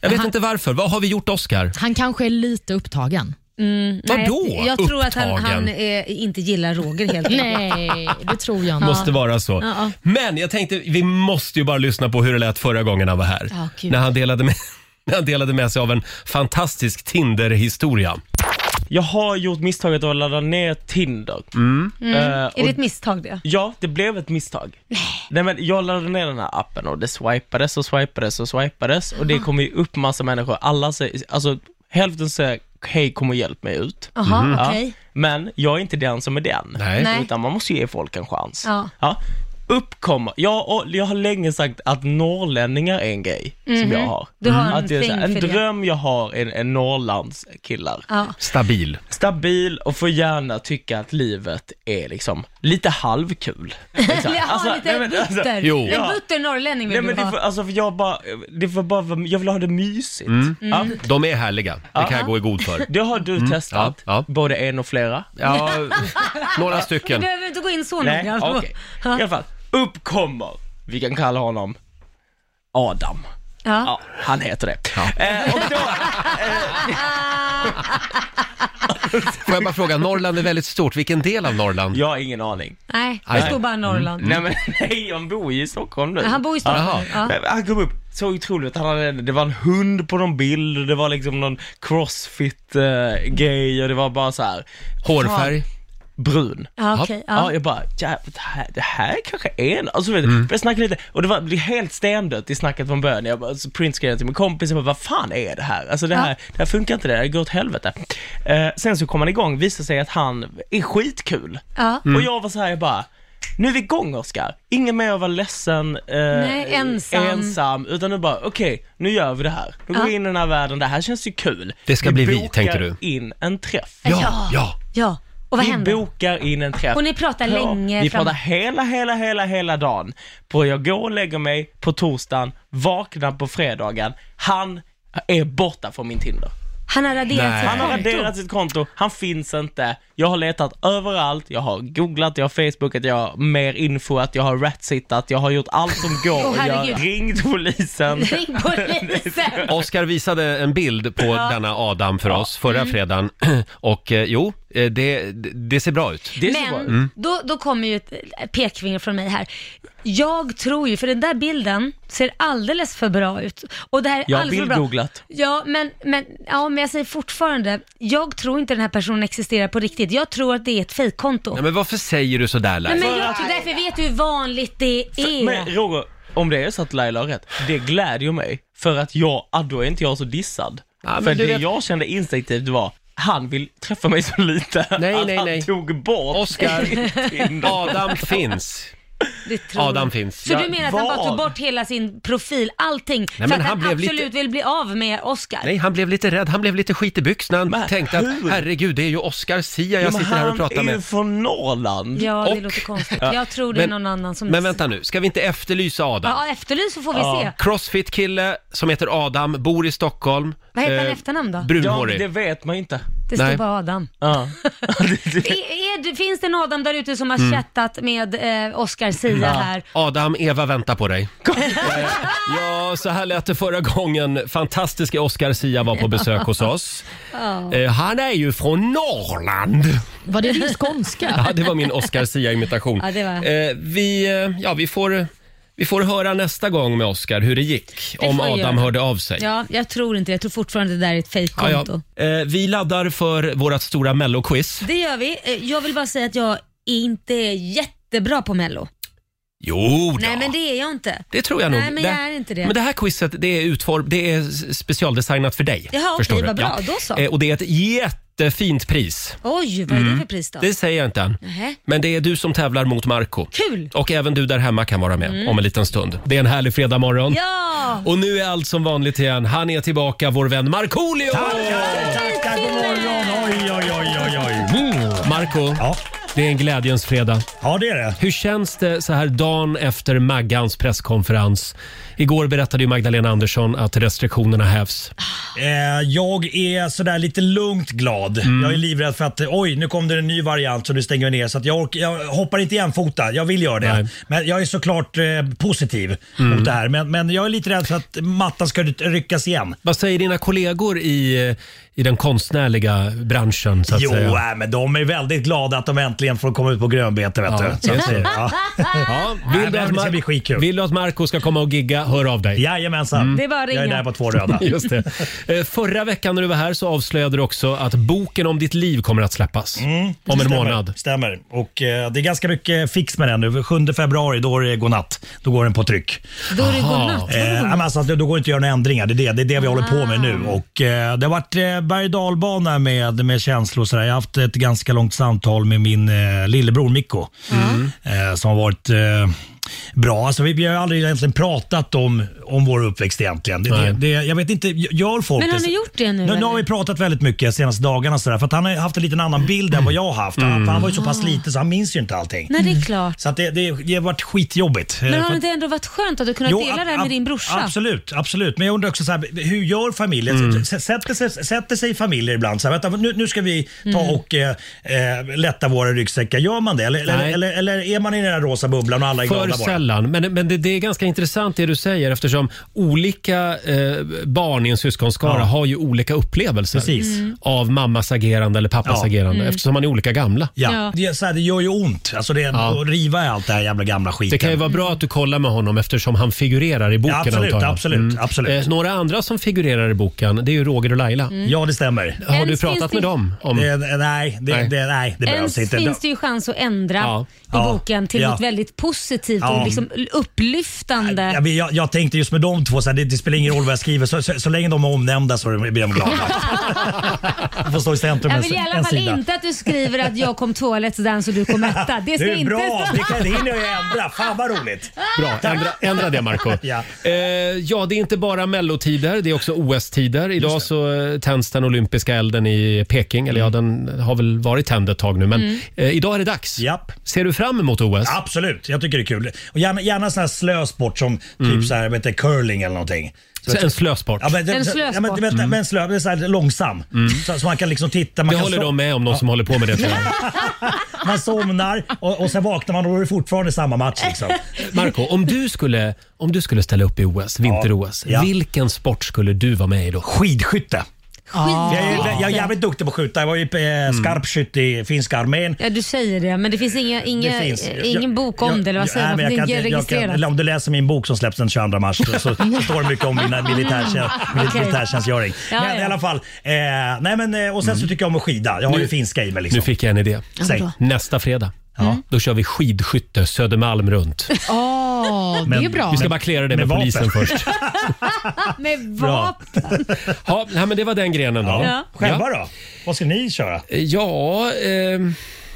Speaker 1: Jag vet inte varför. Vad har vi gjort Oscar?
Speaker 3: Han kanske är lite upptagen.
Speaker 2: Nej,
Speaker 1: Vadå
Speaker 2: Eh, Jag tror att han,
Speaker 1: upptagen?
Speaker 2: han eh, inte gillar Roger helt enkelt.
Speaker 3: Nej, det tror jag inte.
Speaker 1: Måste vara så. Men jag tänkte, vi måste ju bara lyssna på hur det lät förra gången han var här.
Speaker 2: Ja, gud.
Speaker 1: när, han delade med, när han delade med sig av en fantastisk Tinder-historia.
Speaker 10: Jag har gjort misstaget att ladda ner Tinder.
Speaker 2: Mm.
Speaker 10: Eh,
Speaker 2: Är det
Speaker 10: och
Speaker 2: ett misstag
Speaker 1: Mm.
Speaker 2: det?
Speaker 10: ja, det blev ett misstag. Nej men jag laddade ner den här appen och det swipades och swipades och swipades
Speaker 2: Ah.
Speaker 10: och det kom ju upp massa människor. Alla säger, alltså hälften säger hej kom och hjälp mig ut.
Speaker 2: Jaha,
Speaker 10: Ja.
Speaker 2: okej.
Speaker 10: Men jag är inte den som är den.
Speaker 1: Nej.
Speaker 2: Nej.
Speaker 10: Utan man måste ju ge folk en chans.
Speaker 2: Ja.
Speaker 10: Ja. uppkomma. Jag, och jag har länge sagt att norrlänningar är en grej
Speaker 2: Mhm.
Speaker 10: som jag har.
Speaker 2: Du har en
Speaker 10: att det är så här,
Speaker 2: thing
Speaker 10: en
Speaker 2: för det.
Speaker 10: dröm jag har är, är norrlandskillar.
Speaker 2: Ja.
Speaker 1: Stabil.
Speaker 10: Stabil och får gärna tycka att livet är liksom lite halvkul. Liksom.
Speaker 2: Jaha,
Speaker 10: Alltså,
Speaker 2: lite
Speaker 10: nej, men, alltså,
Speaker 2: butter.
Speaker 10: Jo.
Speaker 2: En
Speaker 10: Ja.
Speaker 2: butter norrlänning vill
Speaker 10: Nej men
Speaker 2: du
Speaker 10: det
Speaker 2: ha.
Speaker 10: får, alltså för jag bara, det får bara, vara- jag vill ha det mysigt.
Speaker 1: Mm.
Speaker 10: Ja.
Speaker 1: De är härliga, det kan jag gå i god för.
Speaker 10: Det har du testat, både en och flera.
Speaker 1: Ja, några
Speaker 2: Vi
Speaker 1: stycken.
Speaker 2: behöver inte gå in så
Speaker 10: Nej,
Speaker 2: noggrant.
Speaker 10: okej. I alla fall, uppkommer, vi kan kalla honom Adam.
Speaker 2: Ja.
Speaker 10: Ja, han heter det. Eh, och då,
Speaker 1: Får jag bara fråga, Norrland är väldigt stort. Vilken del av Norrland?
Speaker 10: Jag har ingen aning.
Speaker 2: Nej, det står bara
Speaker 10: Mm.
Speaker 2: Norrland.
Speaker 1: Mm.
Speaker 10: Nej, men, nej, han bor ju i Stockholm nu.
Speaker 2: Ja, han bor i Stockholm,
Speaker 10: Jaha.
Speaker 2: ja.
Speaker 10: Nej, men Han kom upp, så otroligt, han hade, det var en hund på någon bild och det var liksom någon crossfit-grej och det var bara så här.
Speaker 1: Hårfärg?
Speaker 10: Fan, Brun.
Speaker 2: Ja, okej, ja.
Speaker 10: jag bara, jävlar, det här, det här kanske är en... Alltså, vet, mm. jag snackade lite, och det var det blev helt stendött i snacket från början. Jag bara, så printskrev jag till min kompis, jag bara, vad fan är det här? Alltså det här, det här funkar inte, det här går åt helvete. Eh, sen så kom han igång, visade sig att han är skitkul.
Speaker 2: Ja.
Speaker 1: Mm.
Speaker 10: Och jag var så här, jag bara, nu är vi igång Oskar. Ingen mer att vara ledsen, eh,
Speaker 2: Nej, ensam.
Speaker 10: ensam, utan nu bara, okej, nu gör vi det här. Nu går vi in i den här världen, det här känns ju kul.
Speaker 1: Det ska bli vi,
Speaker 10: bokar
Speaker 1: tänkte du.
Speaker 10: in en träff.
Speaker 2: Ja,
Speaker 1: ja.
Speaker 2: Ja, och vad
Speaker 10: vi
Speaker 2: händer?
Speaker 10: bokar in en träff.
Speaker 2: Och ni pratar länge
Speaker 10: Vi
Speaker 2: fram-
Speaker 10: pratar hela, hela, hela, hela dagen. På jag går och lägger mig på torsdagen, vaknar på fredagen. Han är borta från min Tinder.
Speaker 2: Han har raderat sitt
Speaker 10: Han har
Speaker 2: konto.
Speaker 10: raderat sitt konto, han finns inte. Jag har letat överallt, jag har googlat, jag har facebookat, jag har mer infoat, jag har ratsittat, jag har gjort allt som går.
Speaker 2: Åh,
Speaker 10: och jag
Speaker 2: herregud.
Speaker 10: har ringt polisen.
Speaker 2: Ring polisen!
Speaker 1: Oskar visade en bild på
Speaker 2: Ja. Mm.
Speaker 1: denna Adam för oss förra fredagen. Och eh, jo, eh, det, det ser bra ut.
Speaker 10: Det
Speaker 2: Men
Speaker 1: Mm.
Speaker 2: då, då kommer ju ett eh, pekfinger från mig här. Jag tror ju, för den där bilden ser alldeles för bra ut. Och det här är
Speaker 10: Jag har
Speaker 2: alldeles för bra.
Speaker 10: bildgooglat.
Speaker 2: Ja men, men, ja, men jag säger fortfarande, jag tror inte den här personen existerar på riktigt. Jag tror att det är ett fejkkonto.
Speaker 1: Nej, men varför säger du så där
Speaker 2: Nej,
Speaker 1: Laila?
Speaker 2: men jag tror därför vet du hur vanligt det är.
Speaker 10: Men Roger, om det är så att Laila har rätt, det glädjer mig. För att jag, ah, då är inte jag så dissad.
Speaker 1: men
Speaker 10: för
Speaker 1: du
Speaker 10: det
Speaker 1: vet-
Speaker 10: jag kände instinktivt var, han vill träffa mig så lite.
Speaker 1: Nej,
Speaker 10: att
Speaker 1: nej,
Speaker 10: han
Speaker 1: nej.
Speaker 10: tog bort
Speaker 1: Oscar,
Speaker 10: Tinder.
Speaker 1: Adam finns.
Speaker 2: Det tror
Speaker 1: Adam
Speaker 2: jag.
Speaker 1: finns.
Speaker 2: Så
Speaker 1: Ja,
Speaker 2: du menar att han bara
Speaker 1: vad?
Speaker 2: tog bort hela sin profil, allting,
Speaker 1: men
Speaker 2: för att
Speaker 1: han
Speaker 2: han,
Speaker 1: blev
Speaker 2: absolut
Speaker 1: lite-
Speaker 2: vill bli av med Oscar?
Speaker 1: Nej, han blev lite rädd. Han blev lite skit i byxorna. Han
Speaker 10: Men
Speaker 1: tänkte att
Speaker 10: hur?
Speaker 1: herregud, det är ju Oscar Sia
Speaker 10: Ja,
Speaker 1: jag
Speaker 10: men
Speaker 1: sitter här och pratar
Speaker 10: Han är ju
Speaker 1: med.
Speaker 10: från Norrland.
Speaker 2: Ja, det
Speaker 1: Och-
Speaker 2: låter konstigt. Jag tror det är någon annan som...
Speaker 1: Men vänta nu, ska vi inte efterlysa Adam?
Speaker 2: Ja, efterlys så får vi se.
Speaker 1: Crossfit-kille som heter Adam, bor i Stockholm.
Speaker 2: Vad heter han i
Speaker 1: Eh,
Speaker 2: efternamn då?
Speaker 1: Brunhårig.
Speaker 10: Ja, det vet man ju inte.
Speaker 2: Det
Speaker 1: Nej.
Speaker 2: står bara Adam.
Speaker 10: Ja.
Speaker 2: Är, är, du- finns det en Adam där ute som har
Speaker 1: Mm.
Speaker 2: chattat med eh, Oscar Sia här?
Speaker 1: Adam, Eva väntar på dig. Eh, ja, så här lät det förra gången. Fantastiska Oscar Sia var på besök hos oss.
Speaker 2: Ja.
Speaker 1: Eh, Han är ju från Norrland.
Speaker 3: Var det din skånska?
Speaker 1: Ja, det var min Oscar Sia-imitation.
Speaker 2: Ja, det var-
Speaker 1: Eh, Vi, eh, ja, vi, får, vi får höra nästa gång med Oscar hur det gick.
Speaker 2: Det
Speaker 1: om
Speaker 2: får vi
Speaker 1: Adam
Speaker 2: göra.
Speaker 1: hörde av sig.
Speaker 2: Ja, jag tror inte Jag tror fortfarande det där är ett
Speaker 1: Ja, ja.
Speaker 2: fejkkonto.
Speaker 1: Eh, Vi laddar för vårt stora Mello-quiz.
Speaker 2: Det gör vi. Eh, Jag vill bara säga att jag är inte är jättebra på Mello.
Speaker 1: Jo,
Speaker 2: Nej, men det är jag inte.
Speaker 1: Det tror jag nog.
Speaker 2: Nej, men jag är inte det.
Speaker 1: Men det här quizet det är, utform, det är s- specialdesignat för dig.
Speaker 2: Jaha,
Speaker 1: förstår
Speaker 2: okej,
Speaker 1: du?
Speaker 2: vad bra. Då så.
Speaker 1: Eh, Och det är ett jättefint pris.
Speaker 2: Oj, vad är det
Speaker 1: Mm.
Speaker 2: för pris då?
Speaker 1: Det säger jag inte än.
Speaker 2: Nähä.
Speaker 1: Men det är du som tävlar mot Marco
Speaker 2: Kul!
Speaker 1: Och även du där hemma kan vara med
Speaker 2: Mm.
Speaker 1: om en liten stund. Det är en härlig fredagmorgon.
Speaker 2: Ja!
Speaker 1: Och nu är allt som vanligt igen. Han är tillbaka, vår vän Markoolio!
Speaker 4: Tackar, tackar, god morgon. Oj, oj, oj, oj, oj.
Speaker 1: Marco, det är en glädjens fredag.
Speaker 4: Ja, det är det.
Speaker 1: Hur känns det så här dagen efter Maggans presskonferens? Igår berättade ju Magdalena Andersson att restriktionerna hävs.
Speaker 4: Eh, jag är sådär lite lugnt glad. Jag är livrädd för att eh, oj, nu kom det en ny variant så nu stänger vi ner. Så att jag, ork- jag hoppar inte jämfota. Jag vill göra det. Men jag är såklart eh, positiv
Speaker 1: Mm.
Speaker 4: mot det här. Men, men jag är lite rädd för att mattan ska ryckas igen.
Speaker 1: Vad säger dina kollegor i, i den konstnärliga branschen? Så att
Speaker 4: jo,
Speaker 1: säga?
Speaker 4: äh, men de är väldigt glada att de äntligen får komma ut på grönbete. Vet
Speaker 1: Ja,
Speaker 4: du. Så
Speaker 1: just
Speaker 4: att,
Speaker 1: det.
Speaker 4: eh, ja.
Speaker 1: Ja,
Speaker 4: Nej,
Speaker 1: vill, du
Speaker 4: men
Speaker 1: att
Speaker 4: det ska
Speaker 1: Mar-
Speaker 4: bli skitkul.
Speaker 1: vill du att Marco ska komma och gigga, hör av dig.
Speaker 4: Jajamensan.
Speaker 2: Det är bara att
Speaker 4: Jag är
Speaker 2: ringa.
Speaker 4: där på två röda.
Speaker 1: Just det. Eh, Förra veckan när du var här så avslöjade du också att boken om ditt liv kommer att släppas. om en
Speaker 4: Mm, stämmer,
Speaker 1: månad.
Speaker 4: Stämmer. Och eh, det är ganska mycket fix med den nu. 7 februari, då är det godnatt. Då går den på tryck.
Speaker 2: Då är det godnatt.
Speaker 4: Eh, nej, men alltså, då går det inte att göra några ändringar. Det är det, det, är det vi håller på med nu. Och, eh, det har varit eh, berg och dalbana med, med känslor. och sådär. Jag har haft
Speaker 2: Mm.
Speaker 4: ett ganska långt samtal med min eh, lillebror Mikko. Eh, som har varit eh, bra. Alltså, vi, vi har ju aldrig egentligen pratat om, om vår uppväxt egentligen. Det, det, det, jag vet inte, gör folk
Speaker 2: Men har
Speaker 4: det?
Speaker 2: ni gjort det nu,
Speaker 4: Nu, nu
Speaker 2: eller?
Speaker 4: har vi pratat väldigt mycket de senaste dagarna så där, för att han har ju haft en liten annan bild än vad jag har haft.
Speaker 2: Mm.
Speaker 4: Han, för han var ju så pass liten så han minns ju inte allting.
Speaker 2: Nej, det är klart.
Speaker 4: Så att det, det, det har varit skitjobbigt. Eh,
Speaker 2: Men
Speaker 4: för
Speaker 2: har
Speaker 4: att-
Speaker 2: det inte ändå varit skönt att du kunnat
Speaker 4: Jo,
Speaker 2: dela det här
Speaker 4: ab-
Speaker 2: med din brorsa?
Speaker 4: Absolut, absolut. Men jag undrar också så här, hur gör familjen?
Speaker 1: Mm.
Speaker 4: S- Sätter, sig, sätter sig familjer ibland så här, vänta, nu, nu ska vi ta
Speaker 2: Mm.
Speaker 4: och eh, eh, lätta våra ryggsäckar. Gör man det? Eller, eller,
Speaker 1: Nej.
Speaker 4: eller, eller är man i den här rosa bubblan och alla är
Speaker 1: För
Speaker 4: glada bara?
Speaker 1: sällan. Men, men det, det är ganska intressant det du säger eftersom olika eh, barn i en syskonskara
Speaker 4: Ja.
Speaker 1: har ju olika upplevelser
Speaker 4: Precis. Mm.
Speaker 1: av mammas agerande eller pappas
Speaker 4: Ja.
Speaker 1: agerande
Speaker 4: Mm.
Speaker 1: eftersom man är olika gamla.
Speaker 4: Ja, Det, är så här, det gör ju ont. Alltså det, Att riva i allt det här jävla gamla skiten.
Speaker 1: Det kan ju vara bra att du kollar med honom eftersom han figurerar i boken.
Speaker 4: Ja, absolut,
Speaker 1: antar jag.
Speaker 4: absolut, absolut.
Speaker 1: Eh, några andra som figurerar i boken det är ju Roger och Laila.
Speaker 4: Ja, det stämmer.
Speaker 1: Har du
Speaker 2: Ens finns
Speaker 1: pratat
Speaker 2: det-
Speaker 1: med dem? Om...
Speaker 4: Eh, nej, det, nej. Det, nej, det
Speaker 2: Ens
Speaker 4: behövs inte.
Speaker 2: finns det ju chans att ändra
Speaker 4: Ja.
Speaker 2: i
Speaker 4: Ja.
Speaker 2: boken till
Speaker 4: Ja.
Speaker 2: något väldigt positivt
Speaker 4: Ja.
Speaker 2: och liksom upplyftande.
Speaker 4: Ja, men jag, jag tänkte just med de två, så här, det, det spelar ingen roll vad jag skriver. Så, så, så länge de är omnämnda så blir de glada. De får stå i centrum
Speaker 2: Jag
Speaker 4: en-
Speaker 2: vill i alla
Speaker 4: en
Speaker 2: fall
Speaker 4: sida.
Speaker 2: inte att du skriver att jag kom två Let's Dance och du kom etta. Det ska
Speaker 4: Det är
Speaker 2: inte
Speaker 4: bra!
Speaker 2: stå.
Speaker 4: Det, kan, det hinner jag ändra. Fan vad roligt!
Speaker 1: Bra, ändra, ändra det Marco ja. Eh, ja, det är inte bara mellotider, det är också OS-tider. Idag så eh, tänds den olympiska elden i Peking. Eller ja, den har väl varit tänd ett tag nu, men
Speaker 4: Mm.
Speaker 1: eh, idag är det dags. Ser du fram emot OS?
Speaker 4: Absolut, jag tycker det är kul. Och gärna, gärna sån här slösport som typ så här, vet du, curling eller någonting.
Speaker 1: Så Mm. en slösport?
Speaker 4: Ja, men,
Speaker 1: En
Speaker 4: så- Ja, men,
Speaker 1: slösport.
Speaker 4: vänta,
Speaker 1: Mm.
Speaker 4: men slö, det är så här långsam. Så, så man kan liksom titta. Man
Speaker 1: det
Speaker 4: kan
Speaker 1: håller
Speaker 4: slå-
Speaker 1: de med om, de som håller på med det tror jag.
Speaker 4: Man somnar och, och sen vaknar man och då är det fortfarande samma match. Liksom.
Speaker 1: Marco, om du skulle, om du skulle ställa upp i OS, vinter-OS,
Speaker 4: Ja.
Speaker 1: vilken sport skulle du vara med i då?
Speaker 4: Skidskytte.
Speaker 2: Ah.
Speaker 4: Jag, är, jag är jävligt duktig på att skjuta. Jag var ju eh, skarpskytt i finska armén.
Speaker 2: Ja, du säger det, men det finns inga, inga, eh,
Speaker 4: Det finns. Jag-
Speaker 2: ingen bok om det, eller vad säger
Speaker 4: nej,
Speaker 2: man?
Speaker 4: men jag
Speaker 2: Det är inte
Speaker 4: kan inte- jag kan-
Speaker 2: registrerat.
Speaker 4: eller om du läser min bok som släpps den 22 mars så, så står det mycket om mina militärtjänst,
Speaker 2: Mm. Okej.
Speaker 4: militärtjänstgöring.
Speaker 2: Ja,
Speaker 4: men
Speaker 2: ja.
Speaker 4: i alla fall, eh, nej men, eh, och sen så tycker jag om att skida. Jag har ju finska i mig liksom.
Speaker 1: Nu fick jag en idé.
Speaker 4: Ja, Säg. bra.
Speaker 1: Nästa fredag, då kör vi skidskytte Södermalm runt.
Speaker 3: Åh, det är bra.
Speaker 1: Vi ska bara klära det med,
Speaker 4: med
Speaker 1: polisen
Speaker 4: vapen.
Speaker 1: först.
Speaker 2: Med
Speaker 1: Bra.
Speaker 2: vad?
Speaker 1: Ja, nej, men det var den grenen då.
Speaker 4: Ja. Själva då? Vad ska ni köra?
Speaker 1: Ja, ehm...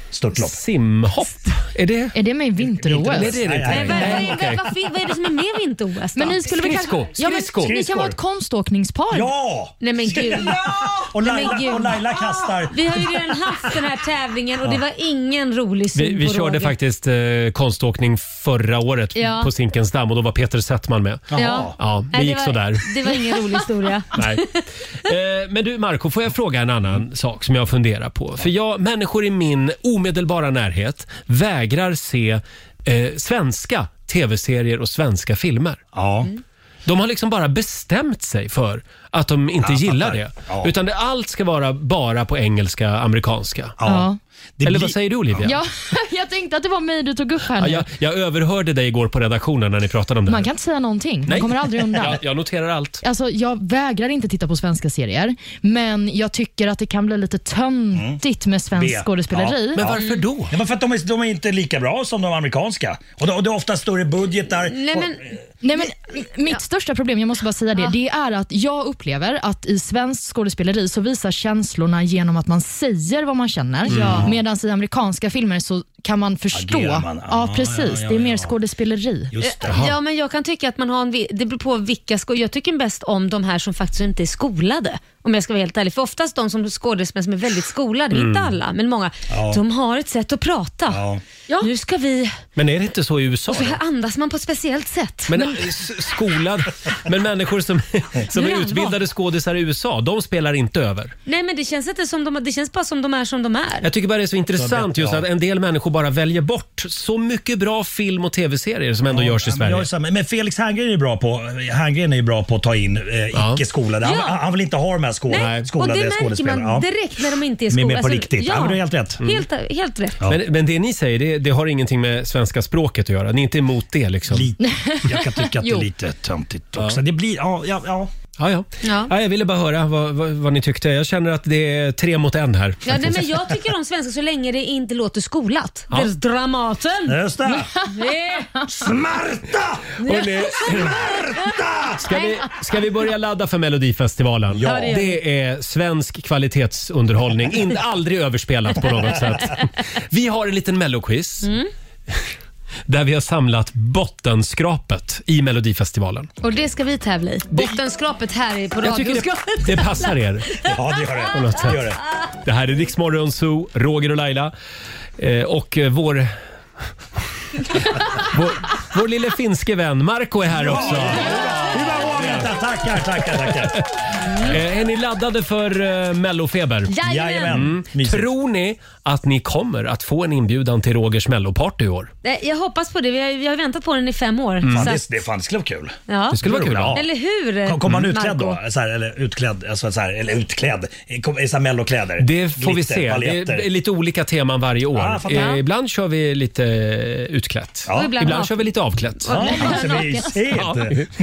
Speaker 4: Störtlopp.
Speaker 1: Simhopp. Är det?
Speaker 3: Är det med i vinter-OS?
Speaker 1: Nej, det är det inte.
Speaker 2: Nej, vad, vad,
Speaker 1: Nej,
Speaker 2: vad,
Speaker 1: okej.
Speaker 2: vad, fin- vad är det som är med i vinter-OS då?
Speaker 3: Men ni skulle väl
Speaker 1: Skridsko,
Speaker 3: kanske- Ja, men
Speaker 1: skridsko.
Speaker 3: Ni kan vara ett konståkningspar.
Speaker 4: Ja!
Speaker 2: Nej men gud.
Speaker 4: Och
Speaker 2: Nej, men
Speaker 4: Laila,
Speaker 2: gud. Ah.
Speaker 4: och Laila kastar.
Speaker 2: Vi har ju redan haft den här tävlingen och det var ingen rolig syn
Speaker 1: Vi, vi
Speaker 2: på
Speaker 1: körde
Speaker 2: Roger.
Speaker 1: faktiskt eh, konståkning förra året
Speaker 2: Ja.
Speaker 1: på Zinkensdamm och då var Peter Settman med.
Speaker 2: Ja.
Speaker 1: Ja, det
Speaker 2: Nej,
Speaker 1: gick
Speaker 2: var,
Speaker 1: sådär.
Speaker 2: Det var ingen rolig historia.
Speaker 1: Nej. Eh, Men du Marco, får jag fråga en annan sak som jag funderar på? För jag, människor i min omedelbara närhet vägrar se eh, svenska tv-serier och svenska filmer.
Speaker 4: Ja.
Speaker 2: Mm.
Speaker 1: De har liksom bara bestämt sig för att de inte
Speaker 4: Jag
Speaker 1: gillar
Speaker 4: fattar.
Speaker 1: det.
Speaker 4: Ja.
Speaker 1: Utan det, allt ska vara bara på engelska, amerikanska.
Speaker 3: Ja.
Speaker 1: Eller
Speaker 4: blir-
Speaker 1: vad säger du Olivia?
Speaker 3: Ja, jag tänkte att det var mig du tog upp här
Speaker 1: Ja,
Speaker 3: nu.
Speaker 1: jag, jag överhörde dig igår på redaktionen när ni pratade om det
Speaker 3: Man
Speaker 1: här.
Speaker 3: kan inte säga någonting. Man
Speaker 1: Nej.
Speaker 3: kommer aldrig undan.
Speaker 1: Jag, jag noterar allt.
Speaker 3: Alltså, jag vägrar inte titta på svenska serier, men jag tycker att det kan bli lite töntigt med svenskt
Speaker 4: B.
Speaker 3: skådespeleri.
Speaker 4: Ja.
Speaker 1: Men varför då?
Speaker 4: Ja, men för att de är, de är inte lika bra som de amerikanska. Och, de, och det är ofta större budgetar.
Speaker 2: Nej
Speaker 4: och,
Speaker 2: men,
Speaker 3: Nej, men mitt största problem, jag måste bara säga det, det är att jag upplever att i svenskt skådespeleri så visar känslorna genom att man säger vad man känner.
Speaker 2: Ja.
Speaker 3: Medan i amerikanska filmer så kan man förstå.
Speaker 4: Agerar man?
Speaker 3: Ja,
Speaker 4: Ah,
Speaker 3: precis.
Speaker 4: ja, ja,
Speaker 3: det är mer
Speaker 4: ja.
Speaker 3: skådespeleri.
Speaker 4: Just det.
Speaker 2: eh, ja, men jag kan tycka att man har en, vi- det beror på vilka skor. Jag tycker bäst om de här som faktiskt inte är skolade. Om jag ska vara helt ärlig. För oftast de som skådespelare som är väldigt skolade, inte alla, men många,
Speaker 1: Mm. Ja.
Speaker 2: de har ett sätt att prata.
Speaker 1: Ja.
Speaker 2: Nu ska vi...
Speaker 1: Men är det inte så i USA?
Speaker 2: Och så
Speaker 1: då?
Speaker 2: här andas man på ett speciellt sätt.
Speaker 1: Men, eh, s- skolad, men människor som, som
Speaker 2: Nu är det
Speaker 1: är
Speaker 2: allvar.
Speaker 1: utbildade skådisar i USA, de spelar inte över.
Speaker 2: Nej men det känns inte som de, det känns bara som de är som de är.
Speaker 1: Jag tycker bara det är så intressant just
Speaker 4: ja.
Speaker 1: att en del människor bara väljer bort så mycket bra film och tv-serier som ändå görs i
Speaker 4: Ja, men, jag
Speaker 1: Sverige.
Speaker 4: är samma. men Felix Herngren är ju bra på, Herngren är ju bra på att ta in eh, icke-skolade. Han,
Speaker 2: Ja.
Speaker 4: han vill inte ha de här sko-
Speaker 2: Nej, och
Speaker 4: skolade
Speaker 2: det märker
Speaker 4: skådespelarna.
Speaker 2: man direkt när de inte är
Speaker 4: Men
Speaker 2: skolade.
Speaker 4: mer på riktigt. Ja, men du har helt rätt. Mm.
Speaker 2: Helt, helt rätt.
Speaker 1: Men, men det ni säger, det, det har ingenting med svenska språket att göra? Ni är inte emot det liksom?
Speaker 4: Lite. Jag kan tycka att det är
Speaker 1: Jo.
Speaker 4: lite töntigt
Speaker 1: Ja.
Speaker 4: också. Det blir, ja, ja, ja.
Speaker 1: Ja, ja.
Speaker 2: Ja.
Speaker 1: Ja, jag ville bara höra vad, vad, vad ni tyckte. Jag känner att det är tre mot en här.
Speaker 2: Ja, nej, men jag tycker om svenska så länge det inte låter skolat.
Speaker 1: Ja.
Speaker 2: Det är Dramaten!
Speaker 1: Just det.
Speaker 2: Det-
Speaker 4: Smärta!
Speaker 1: Hörrni, ska, vi, ska vi börja ladda för Melodifestivalen?
Speaker 2: Ja. Ja, det gör vi.
Speaker 1: Det är svensk kvalitetsunderhållning. In, aldrig överspelat på något sätt. Vi har en liten melloquiz. där vi har samlat bottenskrapet i Melodifestivalen.
Speaker 2: Och det ska vi tävla i. Bottenskrapet här är på
Speaker 1: Jag tycker
Speaker 2: radioskapet.
Speaker 1: det, det passar er.
Speaker 4: Ja, det gör det.
Speaker 1: På något sätt.
Speaker 4: Det gör det.
Speaker 1: Det här är Rix Morgon Zoo, Roger och Laila. Eh, och eh, vår... vår, vår lille finske vän Marco är här också.
Speaker 4: Tackar, tackar, tackar.
Speaker 1: Eh, är ni laddade för eh, Mellofeber?
Speaker 4: Jajamän. Jajamän.
Speaker 1: Tror ni att ni kommer att få en inbjudan till Rogers Melloparty i år?
Speaker 2: Nej, Jag hoppas på det. Vi har, vi har väntat på den i fem år.
Speaker 4: Fan,
Speaker 2: Så
Speaker 4: det,
Speaker 2: att-
Speaker 4: det, fan, Mm. det skulle vara kul.
Speaker 2: ja.
Speaker 4: Ja.
Speaker 2: Eller hur?
Speaker 4: Kom- Kommer han
Speaker 2: Marco?
Speaker 4: utklädd då? Så här, eller utklädd, alltså så här, eller utklädd, i- kom- i så här mellokläder?
Speaker 1: Det får vi se. Det
Speaker 4: paljetter.
Speaker 1: är lite olika teman varje år.
Speaker 4: Ja, jag fattar.
Speaker 1: Eh, ibland kör vi lite eh, utklätt.
Speaker 4: Ah, Ja. Och
Speaker 1: Ibland,
Speaker 4: ibland
Speaker 1: kör vi lite avklätt.
Speaker 4: Ja, alltså, mysigt.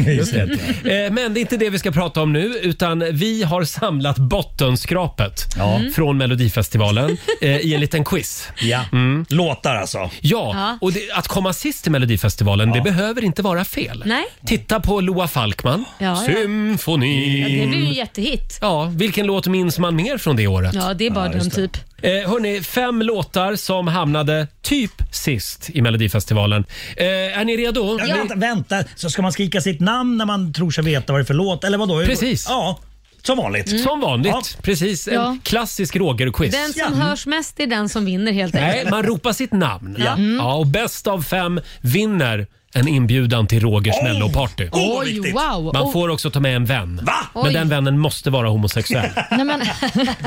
Speaker 1: just det. Eh, Men det är inte det vi ska prata om nu, utan vi har samlat bottenskrapet
Speaker 4: Ja.
Speaker 1: från Melodifestivalen eh, i en liten quiz.
Speaker 4: Ja.
Speaker 1: Mm.
Speaker 4: Låtar alltså.
Speaker 1: Ja, och det, att komma sist i Melodifestivalen, det behöver inte vara fel.
Speaker 2: Nej.
Speaker 1: Titta på Loa Falkman,
Speaker 2: Ja, ja.
Speaker 1: Symfonin.
Speaker 2: Ja, det blir
Speaker 4: Mm.
Speaker 2: ju en jättehit.
Speaker 1: Ja, vilken låt minns man mer från det året?
Speaker 2: Ja, det är bara den typ.
Speaker 1: Eh, hörni, fem låtar som hamnade typ sist i Melodifestivalen. Eh, är ni redo?
Speaker 4: Ja, Vänta, vänta, så ska man skrika sitt namn när man tror sig veta vad det är för låt? Eller vadå?
Speaker 1: Precis.
Speaker 4: Ja, som vanligt.
Speaker 1: Som vanligt.
Speaker 4: Mm. Ja.
Speaker 1: Precis. En
Speaker 2: Ja.
Speaker 1: klassisk Roger-quiz.
Speaker 2: Den som hörs mest är den som vinner helt
Speaker 1: Nej,
Speaker 2: enkelt.
Speaker 1: man ropar sitt namn.
Speaker 2: Ja. Mm.
Speaker 1: Ja. och bäst av fem vinner en inbjudan till Rogers melloparty.
Speaker 4: Åh, vad
Speaker 3: Oj,
Speaker 4: viktigt.
Speaker 3: wow.
Speaker 1: Man
Speaker 3: Och-
Speaker 1: får också ta med en vän. Men
Speaker 2: Oj.
Speaker 1: den vännen måste vara homosexuell.
Speaker 3: Nej, men,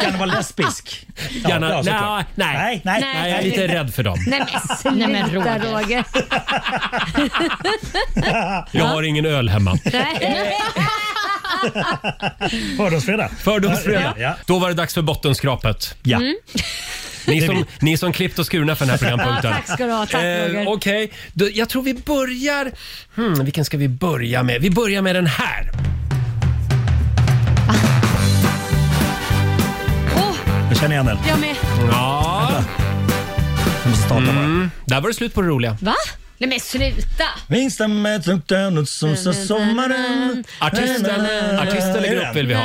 Speaker 4: Gärna vara lesbisk. Ja,
Speaker 1: Gärna,
Speaker 4: ja, såklart.
Speaker 1: nej, nej,
Speaker 4: nej, nej.
Speaker 1: nej, jag är lite rädd för dem.
Speaker 2: Nej men,
Speaker 3: Nej, men
Speaker 2: sluta
Speaker 3: Roger.
Speaker 2: Roger.
Speaker 1: Jag har ingen öl hemma.
Speaker 2: Nej.
Speaker 4: Fördomsfredag.
Speaker 1: Fördomsfredag.
Speaker 4: Ja.
Speaker 1: Då var det dags för bottenskrapet.
Speaker 4: Ja.
Speaker 1: Ni
Speaker 4: Det är
Speaker 1: som,
Speaker 4: vi.
Speaker 1: ni som klippt och skurna för den här
Speaker 2: Ja,
Speaker 1: programpunkten.
Speaker 2: tack ska du ha. Tack Roger.
Speaker 1: Eh, Okej, Då- jag tror vi börjar... Hmm, vilken ska vi börja med? Vi börjar med den här.
Speaker 2: Åh,
Speaker 4: Jag känner igen den.
Speaker 2: jag med.
Speaker 1: Ja,
Speaker 4: Jag måste starta
Speaker 1: Mm.
Speaker 4: bara.
Speaker 1: där var det slut på det roliga.
Speaker 2: Va? Nej men sluta.
Speaker 4: Minns den med tukten och som så sommaren.
Speaker 1: Artisten, artist eller grupp vill vi ha.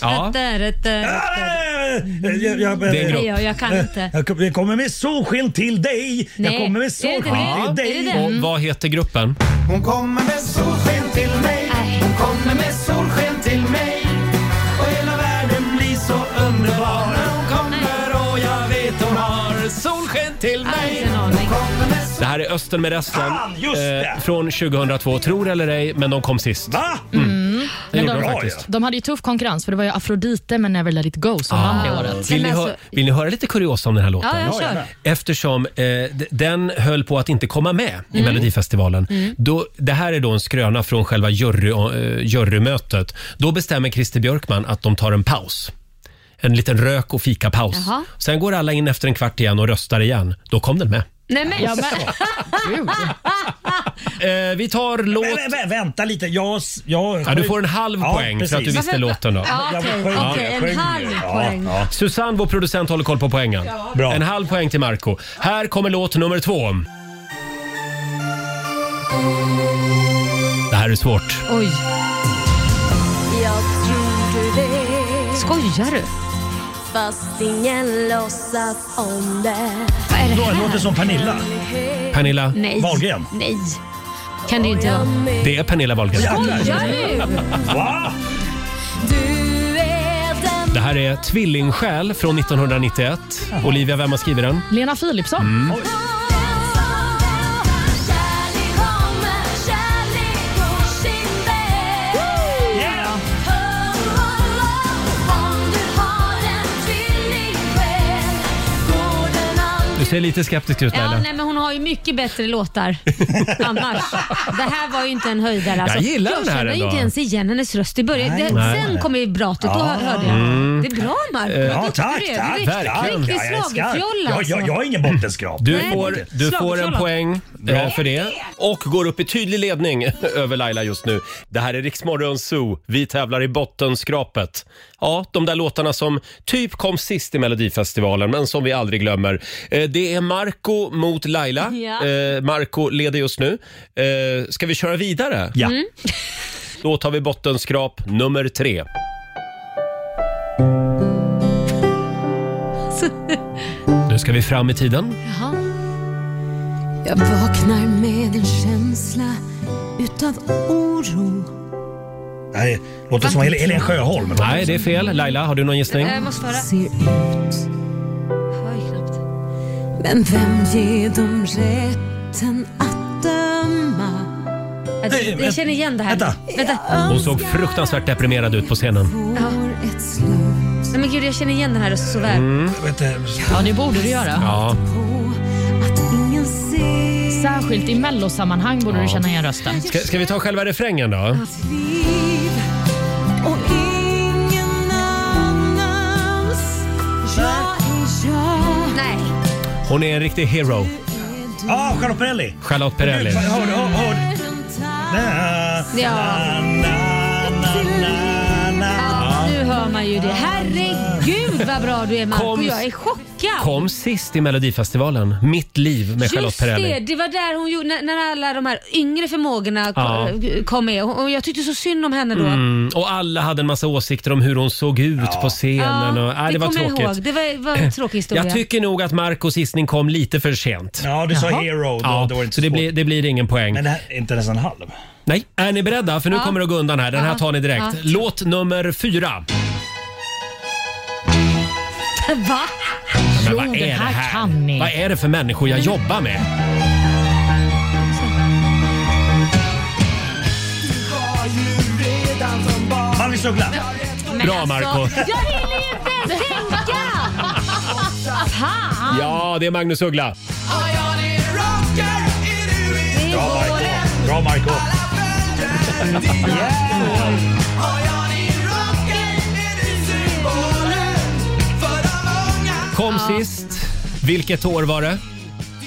Speaker 1: Ja.
Speaker 4: Jag, jag,
Speaker 1: Det är en
Speaker 2: Det
Speaker 1: grupp.
Speaker 2: är jag, jag kan inte.
Speaker 4: jag kom- jag kommer med solsken till dig.
Speaker 2: Nej,
Speaker 4: Jag kommer med
Speaker 2: är det inte
Speaker 4: solsken
Speaker 2: det?
Speaker 4: till
Speaker 2: Är det
Speaker 4: dig.
Speaker 2: det?
Speaker 1: Och vad heter gruppen?
Speaker 11: Mm. Hon kommer med solsken till mig Hon kommer med solsken till mig Och hela världen blir så underbar när hon kommer och jag vet hon har solsken till mig
Speaker 2: Inte en aning.
Speaker 1: Det här är Östen med resten. Eh,
Speaker 4: Fan, just det!
Speaker 1: från 2002, tror eller ej, men de kom sist.
Speaker 4: Va?
Speaker 1: Mm. Det gjorde de
Speaker 3: de-
Speaker 1: faktiskt.
Speaker 3: de hade ju tuff konkurrens för det var ju Afrodite med Never Let It Go
Speaker 1: Ah.
Speaker 3: som vann det året.
Speaker 1: Vill ni,
Speaker 2: Men
Speaker 1: hö-
Speaker 2: alltså-
Speaker 1: vill ni höra lite kuriosa om den här låten?
Speaker 2: Ja, jag kör.
Speaker 4: gärna.
Speaker 1: Eftersom eh, d- den höll på att inte komma med i
Speaker 2: Mm.
Speaker 1: Melodifestivalen. Då, det här är då en skröna från själva jury, eh, jurymötet. Då bestämmer Christer Björkman att de tar en paus. En liten rök och fikapaus.
Speaker 2: Jaha.
Speaker 1: Sen går alla in efter en kvart igen och röstar igen. Då kom den med.
Speaker 2: Nej men.
Speaker 3: Ja, men, Gud.
Speaker 2: Ah.
Speaker 1: Eh, vi tar låt...
Speaker 4: Vä- vä- vä- Vänta lite. Jag, jag,
Speaker 1: Ja, du får en halv
Speaker 4: Ja,
Speaker 1: poäng för att du
Speaker 4: precis.
Speaker 1: visste låten då.
Speaker 2: Ja,
Speaker 4: Jag
Speaker 2: Okej,
Speaker 4: sjunger,
Speaker 2: okej,
Speaker 4: jag
Speaker 2: en
Speaker 4: sjunger.
Speaker 2: halv
Speaker 4: Ja,
Speaker 2: poäng.
Speaker 4: ja.
Speaker 1: Susanne, vår producent, håller koll på poängen.
Speaker 4: Bra.
Speaker 1: En halv poäng till Marco. Här kommer låt nummer två. Det här är svårt.
Speaker 2: Oj. Skojar du?
Speaker 12: Fast ingen låtsas om det
Speaker 2: Vad är det
Speaker 4: Då
Speaker 2: här?
Speaker 4: låter som Pernilla
Speaker 1: Pernilla,
Speaker 2: Nej.
Speaker 4: Wahlgren.
Speaker 2: Nej. Kan det ju inte vara.
Speaker 1: det är Pernilla Wahlgren.
Speaker 2: Skojar du?
Speaker 4: Va?
Speaker 12: Du är den
Speaker 1: Det här är Tvillingsjäl från 1991. Olivia, vem har skrivit den?
Speaker 3: Lena Philipsson.
Speaker 1: Mm.
Speaker 12: Kärlek kommer, kärlek går sin väg
Speaker 4: Yeah!
Speaker 12: Om du har en tvilling själv går den
Speaker 1: Du ser lite skeptisk ut
Speaker 2: Ja,
Speaker 1: Laila.
Speaker 2: nej, men hon har ju mycket bättre låtar annars. Det här var ju inte en höjdare. Alltså.
Speaker 1: Jag gillar
Speaker 2: jag
Speaker 1: den här
Speaker 2: känner ju
Speaker 1: ändå.
Speaker 2: inte ens igen hennes röst i början.
Speaker 4: Nej.
Speaker 2: Det,
Speaker 1: Nej.
Speaker 2: Sen kom ju bratet, då hörde jag. Det är bra Marko.
Speaker 4: Ja, tack, tack, tack.
Speaker 1: verkligen.
Speaker 2: Riktig
Speaker 4: Ja, jag älskar.
Speaker 2: schlagerfjolla
Speaker 4: Jag,
Speaker 2: alltså.
Speaker 4: jag, jag har ingen bottenskrap.
Speaker 1: Du
Speaker 2: Nej,
Speaker 1: får,
Speaker 2: det är inte.
Speaker 1: du får en
Speaker 2: Slagförtrollad.
Speaker 1: poäng eh, för det och går upp i tydlig ledning över Laila just nu. Det här är Riksmorgon Zoo. Vi tävlar i bottenskrapet. Ja, de där låtarna som typ kom sist i Melodifestivalen men som vi aldrig glömmer. Eh, Det är Marco mot Laila.
Speaker 2: Ja.
Speaker 1: Eh, Marco leder just nu. Eh, Ska vi köra vidare?
Speaker 4: Ja.
Speaker 1: Då tar vi bottenskrap nummer tre. Nu ska vi fram i tiden.
Speaker 2: Jaha.
Speaker 13: Jag vaknar med en känsla utav oro
Speaker 4: Det här låter som Hel- Helen Sjöholm.
Speaker 1: Nej, det är fel. Laila, har du någon gissning?
Speaker 2: Jag måste höra.
Speaker 13: Ser ut. Men vem ger dem rätten att döma?
Speaker 2: Nej, jag men- känner igen det här.
Speaker 13: Vänta.
Speaker 2: Vänta.
Speaker 1: Hon såg fruktansvärt deprimerad ut på scenen.
Speaker 2: Ja. Nej men gud, jag känner igen det här så väl.
Speaker 1: Mm.
Speaker 3: Ja, det borde du göra.
Speaker 1: Ja.
Speaker 3: Särskilt i mellosammanhang borde du känna igen rösten.
Speaker 1: Ska, ska vi ta själva refrängen då?
Speaker 13: Och ingen annans. Jag är jag.
Speaker 2: Nej.
Speaker 1: Hon är en riktig hero.
Speaker 4: Ja, Ah, Charlotte Perrelli.
Speaker 1: Charlotte Perrelli.
Speaker 4: Hör du? Hör, hör.
Speaker 2: Ja. Ja, nu hör man ju det. Herregud vad bra du är Marco.
Speaker 1: Kom-
Speaker 2: Jag är chockad.
Speaker 1: Kom sist i Melodifestivalen. Mitt liv med Charlotte
Speaker 2: Just det,
Speaker 1: Perrelli.
Speaker 2: det var där hon gjorde, när, när alla de här yngre förmågorna
Speaker 1: Ja.
Speaker 2: kom, kom med. Och och jag tyckte så synd om henne då.
Speaker 1: Mm, och alla hade en massa åsikter om hur hon såg ut på scenen.
Speaker 2: Ja,
Speaker 1: och, nej, det var
Speaker 2: kommer jag
Speaker 1: tråkigt.
Speaker 2: Ihåg. Det var, var en tråkig historia.
Speaker 1: Jag tycker nog att Marcos gissning kom lite för sent.
Speaker 4: Ja, du sa Jaha. hero, då-
Speaker 1: ja,
Speaker 4: då var det inte
Speaker 1: så det
Speaker 4: svårt.
Speaker 1: blir, det blir ingen poäng.
Speaker 4: Men det här är inte ens en halv.
Speaker 1: Nej, är ni beredda? För nu
Speaker 4: Ja.
Speaker 1: kommer det att gå undan här. Den här
Speaker 4: Ja.
Speaker 1: tar ni direkt.
Speaker 4: Ja.
Speaker 1: Låt nummer fyra.
Speaker 2: Va?
Speaker 1: Men vad är det här? Vad är det för människor jag jobbar med?
Speaker 4: Mallis Uggla.
Speaker 1: Bra, Marco.
Speaker 2: alltså, Jag hinner ju inte ens tänka! Fan!
Speaker 1: Ja, det är Magnus Uggla.
Speaker 4: Bra Marco. Bra Marco.
Speaker 1: Kom sist. Vilket år var det?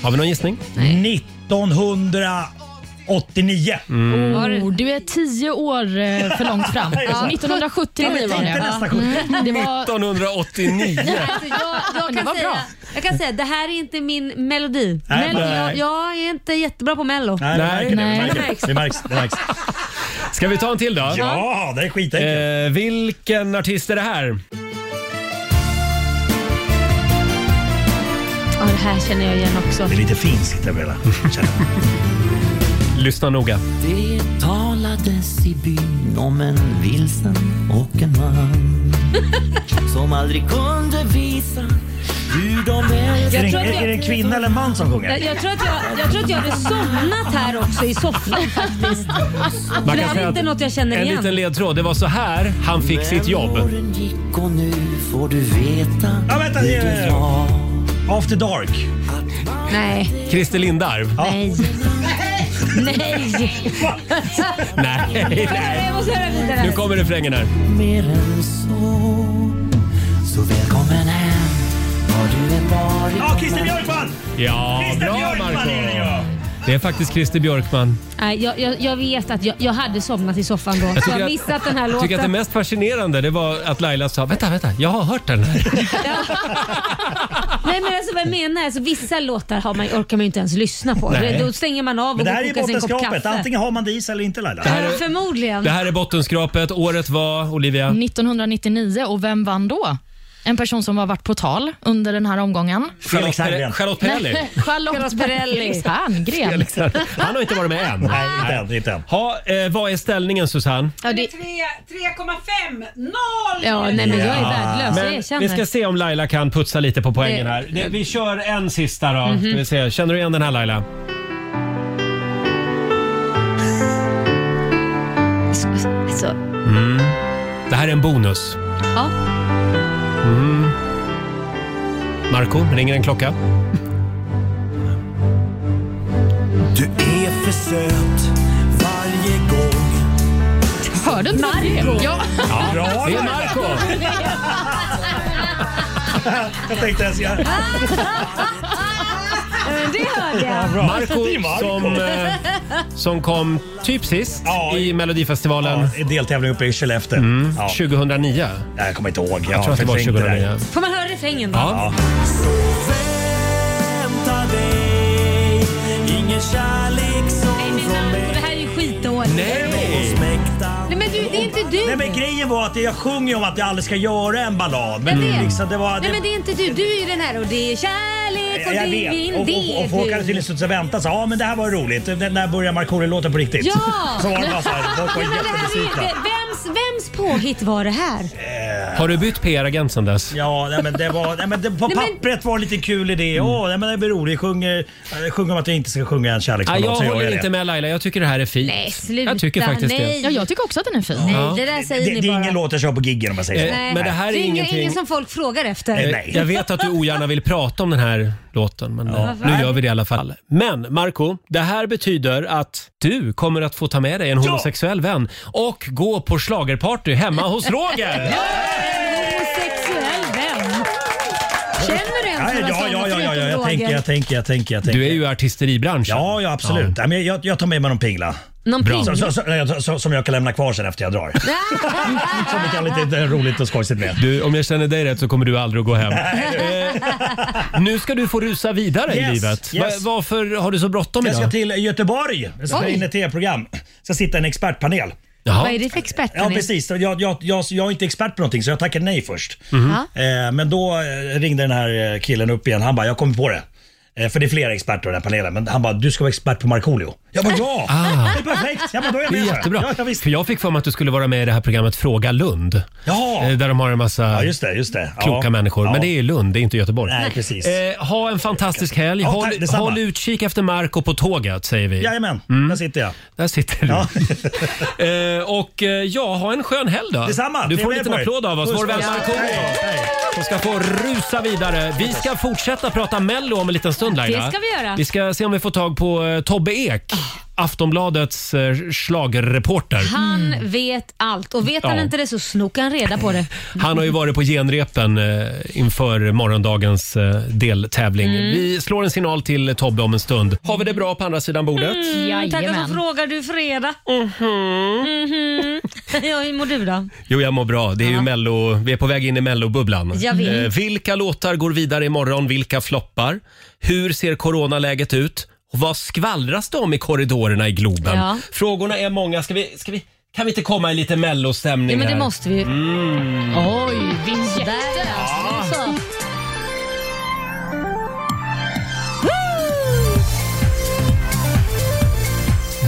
Speaker 1: Har vi någon gissning?
Speaker 4: 1989.
Speaker 1: Mm.
Speaker 3: Oh, du är tio år eh, för långt fram.
Speaker 4: Ja.
Speaker 3: 1979 var
Speaker 4: Inte
Speaker 3: det.
Speaker 4: nästa
Speaker 3: Mm, det var
Speaker 1: 1989.
Speaker 2: Alltså, jag, jag,
Speaker 3: det
Speaker 2: kan
Speaker 3: var
Speaker 2: säga,
Speaker 3: bra.
Speaker 2: jag kan säga, det här är inte min melodi.
Speaker 4: Nej,
Speaker 2: Mello,
Speaker 1: nej.
Speaker 2: jag, jag är inte jättebra på mello.
Speaker 4: Nej, det märker det,
Speaker 2: Nej.
Speaker 4: det. märker Det märks. Det märks.
Speaker 1: Ska vi ta en till då?
Speaker 4: Ja, det är skitenkelt.
Speaker 1: Eh, vilken artist är det här?
Speaker 2: Ja, det här känner jag igen också.
Speaker 4: Det är lite finskt över hela.
Speaker 1: Lyssna noga.
Speaker 11: Det talades i byn om en vilsen och en man som aldrig kunde visa hur de
Speaker 4: Är det,
Speaker 11: älskar
Speaker 4: en, är det en kvinna eller en man som sjunger?
Speaker 2: Jag, jag, tror att jag, jag tror att jag hade somnat här också i soffan faktiskt. För det här är inte något jag känner
Speaker 1: en
Speaker 2: igen.
Speaker 1: liten ledtråd. Det var så här han fick sitt jobb.
Speaker 11: Och nu får du veta
Speaker 4: Ja, vänta. Det är, After Dark.
Speaker 2: Nej.
Speaker 1: Christer Lindarw.
Speaker 2: Nej. Nej.
Speaker 1: Nej, nej.
Speaker 2: Jag måste höra vidare.
Speaker 1: Nu
Speaker 2: här.
Speaker 1: kommer refrängen här.
Speaker 11: mer än så. Så välkommen hem var du än varit.
Speaker 4: Ja, Christer Björkman!
Speaker 1: Ja,
Speaker 4: Christer
Speaker 1: bra
Speaker 4: Björkman
Speaker 1: Marco.
Speaker 4: är det ju.
Speaker 1: Det är faktiskt Christer Björkman.
Speaker 2: Nej, jag, jag, jag vet att jag, jag hade somnat i soffan då. Jag,
Speaker 1: tycker
Speaker 2: jag har
Speaker 1: att-
Speaker 2: missat den här
Speaker 1: Jag tycker att det
Speaker 2: låten.
Speaker 1: mest fascinerande det var att Laila sa “Vänta, vänta, jag har hört den här”.
Speaker 2: Nej men alltså vad jag menar alltså, vissa låtar har man, orkar man ju inte ens lyssna på.
Speaker 1: Nej.
Speaker 2: Då stänger man av och
Speaker 4: Men det
Speaker 2: går
Speaker 4: här
Speaker 2: och kokar sig
Speaker 4: är ju
Speaker 2: en kopp
Speaker 4: bottenskrapet.
Speaker 2: kaffe.
Speaker 4: Antingen har man det i sig eller inte Laila.
Speaker 1: Det här
Speaker 2: Ja,
Speaker 1: är,
Speaker 2: Förmodligen.
Speaker 1: det här är bottenskrapet. Året var, Olivia?
Speaker 4: Mm.
Speaker 3: 1999 och vem vann då? En person som har varit på tal under den här omgången.
Speaker 1: Charlotte, Per- Charlotte Perrelli.
Speaker 3: Charlotte Perrelli Ferngren.
Speaker 1: Felix här. Han har inte varit med än.
Speaker 4: Nej, inte än. Inte än.
Speaker 1: Ha, eh, vad är ställningen Susanne?
Speaker 2: Ja, det...
Speaker 14: 3,5 0!
Speaker 2: Ja, nej men jag
Speaker 1: Ja.
Speaker 2: är värdelös, jag Eh,
Speaker 1: Men vi
Speaker 2: erkänner.
Speaker 1: ska se om Laila kan putsa lite på poängen här. Det- Vi kör en sista
Speaker 2: Mhm.
Speaker 1: då. Ska vi se. Känner du igen den här Laila?
Speaker 2: Alltså,
Speaker 1: Mm. Det här är en bonus.
Speaker 2: ja.
Speaker 1: Mm. Marco, ringer en klocka?
Speaker 11: Du är för söt varje gång.
Speaker 3: Hörde inte du det? Ja.
Speaker 1: Ja, det är Marco.
Speaker 4: Jag tänkte jag ska...
Speaker 2: Det hörde jag.
Speaker 4: bra.
Speaker 1: Marco
Speaker 4: Det är Marco.
Speaker 1: som, eh, som kom typ sist i Melodifestivalen.
Speaker 4: Ja, deltävling uppe i Skellefteå. Ja.
Speaker 1: 2009.
Speaker 4: Nej, Jag kommer inte ihåg. Jag,
Speaker 1: Mm. Jag tror att det var
Speaker 4: förträngde
Speaker 1: 2009.
Speaker 4: här.
Speaker 2: Får man höra refrängen då?
Speaker 1: Ja.
Speaker 11: Vänta dig, ingen kärlek som
Speaker 2: Nej men Marco, det här är ju skitdåligt.
Speaker 1: Nej!
Speaker 2: Nej men du, det är inte inte du.
Speaker 4: Nej men grejen var att jag sjunger om att jag aldrig ska göra en ballad. Men
Speaker 2: Jag vet.
Speaker 4: liksom, det var...
Speaker 2: Nej men det är inte du, du är ju den här och det är kärlek och
Speaker 4: jag
Speaker 2: det är
Speaker 4: vet.
Speaker 2: vind,
Speaker 4: Och,
Speaker 2: det
Speaker 4: och,
Speaker 2: är
Speaker 4: och folk
Speaker 2: du.
Speaker 4: hade tydligen suttit och väntat. Så, Ja, men det här var ju roligt. Den där börjar Markoolio-låten på riktigt.
Speaker 2: Ja!
Speaker 4: Så var det bara så här. Folk var
Speaker 2: Ja, men det här är
Speaker 4: jättebesvikna.
Speaker 2: inte, vems, vems påhitt var det här?
Speaker 1: Har du bytt PR-agent sen dess?
Speaker 4: Ja, nej, men det var, nej, men det, på
Speaker 2: Nej, men-
Speaker 4: pappret var det lite kul idé.
Speaker 1: Mm.
Speaker 4: Åh, nej, men det blir roligt. Jag sjunger, jag sjunger om att jag inte ska sjunga en
Speaker 1: Ja,
Speaker 4: kärleksballad.
Speaker 1: jag
Speaker 4: så gör
Speaker 1: håller
Speaker 4: det.
Speaker 1: inte med Laila, jag tycker det här är fint.
Speaker 2: Nej, sluta.
Speaker 1: Jag tycker faktiskt det.
Speaker 2: nej.
Speaker 3: Ja, jag tycker också att den är fin. Eh,
Speaker 2: Nej, det där säger
Speaker 4: Det,
Speaker 2: ni
Speaker 4: det är
Speaker 2: bara.
Speaker 4: ingen låt jag kör på giggen om jag säger så.
Speaker 2: Nej.
Speaker 1: men det här är
Speaker 2: inga-
Speaker 1: ingenting-
Speaker 2: ingen som folk frågar efter.
Speaker 1: Eh, Jag vet att du ogärna vill prata om den här låten, men eh, nu gör vi det i alla fall. Men Marco, det här betyder att du kommer att få ta med dig en homosexuell vän och gå på schlagerparty hemma hos Roger!
Speaker 2: Homosexuell vän. Känner du en
Speaker 4: Ja,
Speaker 2: som har
Speaker 4: ja,
Speaker 2: sådana
Speaker 4: ja, ja, ja, ja, jag
Speaker 2: förutom
Speaker 4: tänker, jag
Speaker 2: Roger?
Speaker 4: tänker, jag tänker, jag tänker. Du
Speaker 1: är ju artisteribranschen.
Speaker 4: Ja, ja absolut.
Speaker 1: Ja.
Speaker 4: Nej, men jag, jag tar med mig någon pingla.
Speaker 2: Någon
Speaker 4: Bra.
Speaker 2: pingla?
Speaker 4: Som, som, som, som jag kan lämna kvar sen efter jag drar. som vi kan lite det är roligt och skojsigt med.
Speaker 1: Du, om jag känner dig rätt så kommer du aldrig att gå hem. Eh, nu ska du få rusa vidare
Speaker 4: Yes,
Speaker 1: i livet.
Speaker 4: yes.
Speaker 1: Va- varför har du så bråttom
Speaker 4: Jag
Speaker 1: idag?
Speaker 4: ska till Göteborg. Jag ska spela
Speaker 2: Oj.
Speaker 4: in ett tv-program. Jag ska sitta i en expertpanel.
Speaker 2: Vad är det för expert?
Speaker 4: Ja precis, jag, jag, jag, jag är inte expert på någonting så jag tackade nej först.
Speaker 1: Mm-hmm.
Speaker 2: Mhm.
Speaker 4: Eh, men då eh, ringde den här eh, killen upp igen. Han bara, jag kommer på det. Eh, för det är flera experter i den här panelen. Men han bara, du ska vara expert på Markoolio. Jag bara, ja!
Speaker 1: Ah.
Speaker 4: Det är perfekt! Jag bara, då är jag
Speaker 1: Det
Speaker 4: med.
Speaker 1: är
Speaker 4: sa jag.
Speaker 1: jättebra.
Speaker 4: Ja,
Speaker 1: För jag fick för mig att du skulle vara med i det här programmet Fråga Lund. Eh, Där de har en massa
Speaker 4: just det, just det. Ja.
Speaker 1: kloka människor.
Speaker 4: Ja.
Speaker 1: Men det är ju Lund, det är inte Göteborg.
Speaker 4: Nej, precis.
Speaker 1: Eh, ha en fantastisk helg.
Speaker 4: Ja, tack,
Speaker 1: håll,
Speaker 4: detsamma.
Speaker 1: håll utkik efter Marco på tåget, säger vi.
Speaker 4: Jajamän,
Speaker 1: Mm.
Speaker 4: där sitter jag.
Speaker 1: Där sitter du. eh, och eh, ja, ha en skön helg då.
Speaker 4: Detsamma,
Speaker 1: Du får en liten
Speaker 4: trevlig helg på er.
Speaker 1: applåd av oss,
Speaker 4: Puss,
Speaker 1: vår vän
Speaker 4: puss.
Speaker 1: Markoolio. Som ska få rusa vidare. Vi ska fortsätta prata Mello om en liten stund Laila.
Speaker 2: Det ska vi göra. Ah.
Speaker 1: Vi ska se om vi får tag på eh, Tobbe Ek, Aftonbladets eh, schlagerreporter.
Speaker 2: Han vet allt och vet han
Speaker 1: Ja.
Speaker 2: inte det så snokar han reda på det.
Speaker 1: Han har ju varit på genrepen eh, inför morgondagens eh, deltävling.
Speaker 2: Mm.
Speaker 1: Vi slår en signal till Tobbe om en stund. Har vi det bra på andra sidan bordet?
Speaker 2: Mm, tackar så frågar du fredag. Mhm. Mhm. Ja, hur mår du då?
Speaker 1: Jo, jag mår bra. Det är ju mello, vi är på väg in i mellobubblan. Eh,
Speaker 2: Jag vet.
Speaker 1: vilka låtar går vidare imorgon? Vilka floppar? Hur ser coronaläget ut? Och vad skvallras det om i korridorerna i Globen?
Speaker 2: Ja.
Speaker 1: Frågorna är många. Ska vi, ska vi, kan vi inte komma i lite mellostämning
Speaker 2: Ja, men det
Speaker 1: här?
Speaker 2: måste vi ju.
Speaker 1: Mm.
Speaker 2: Oj, vinjetter alltså. Ja.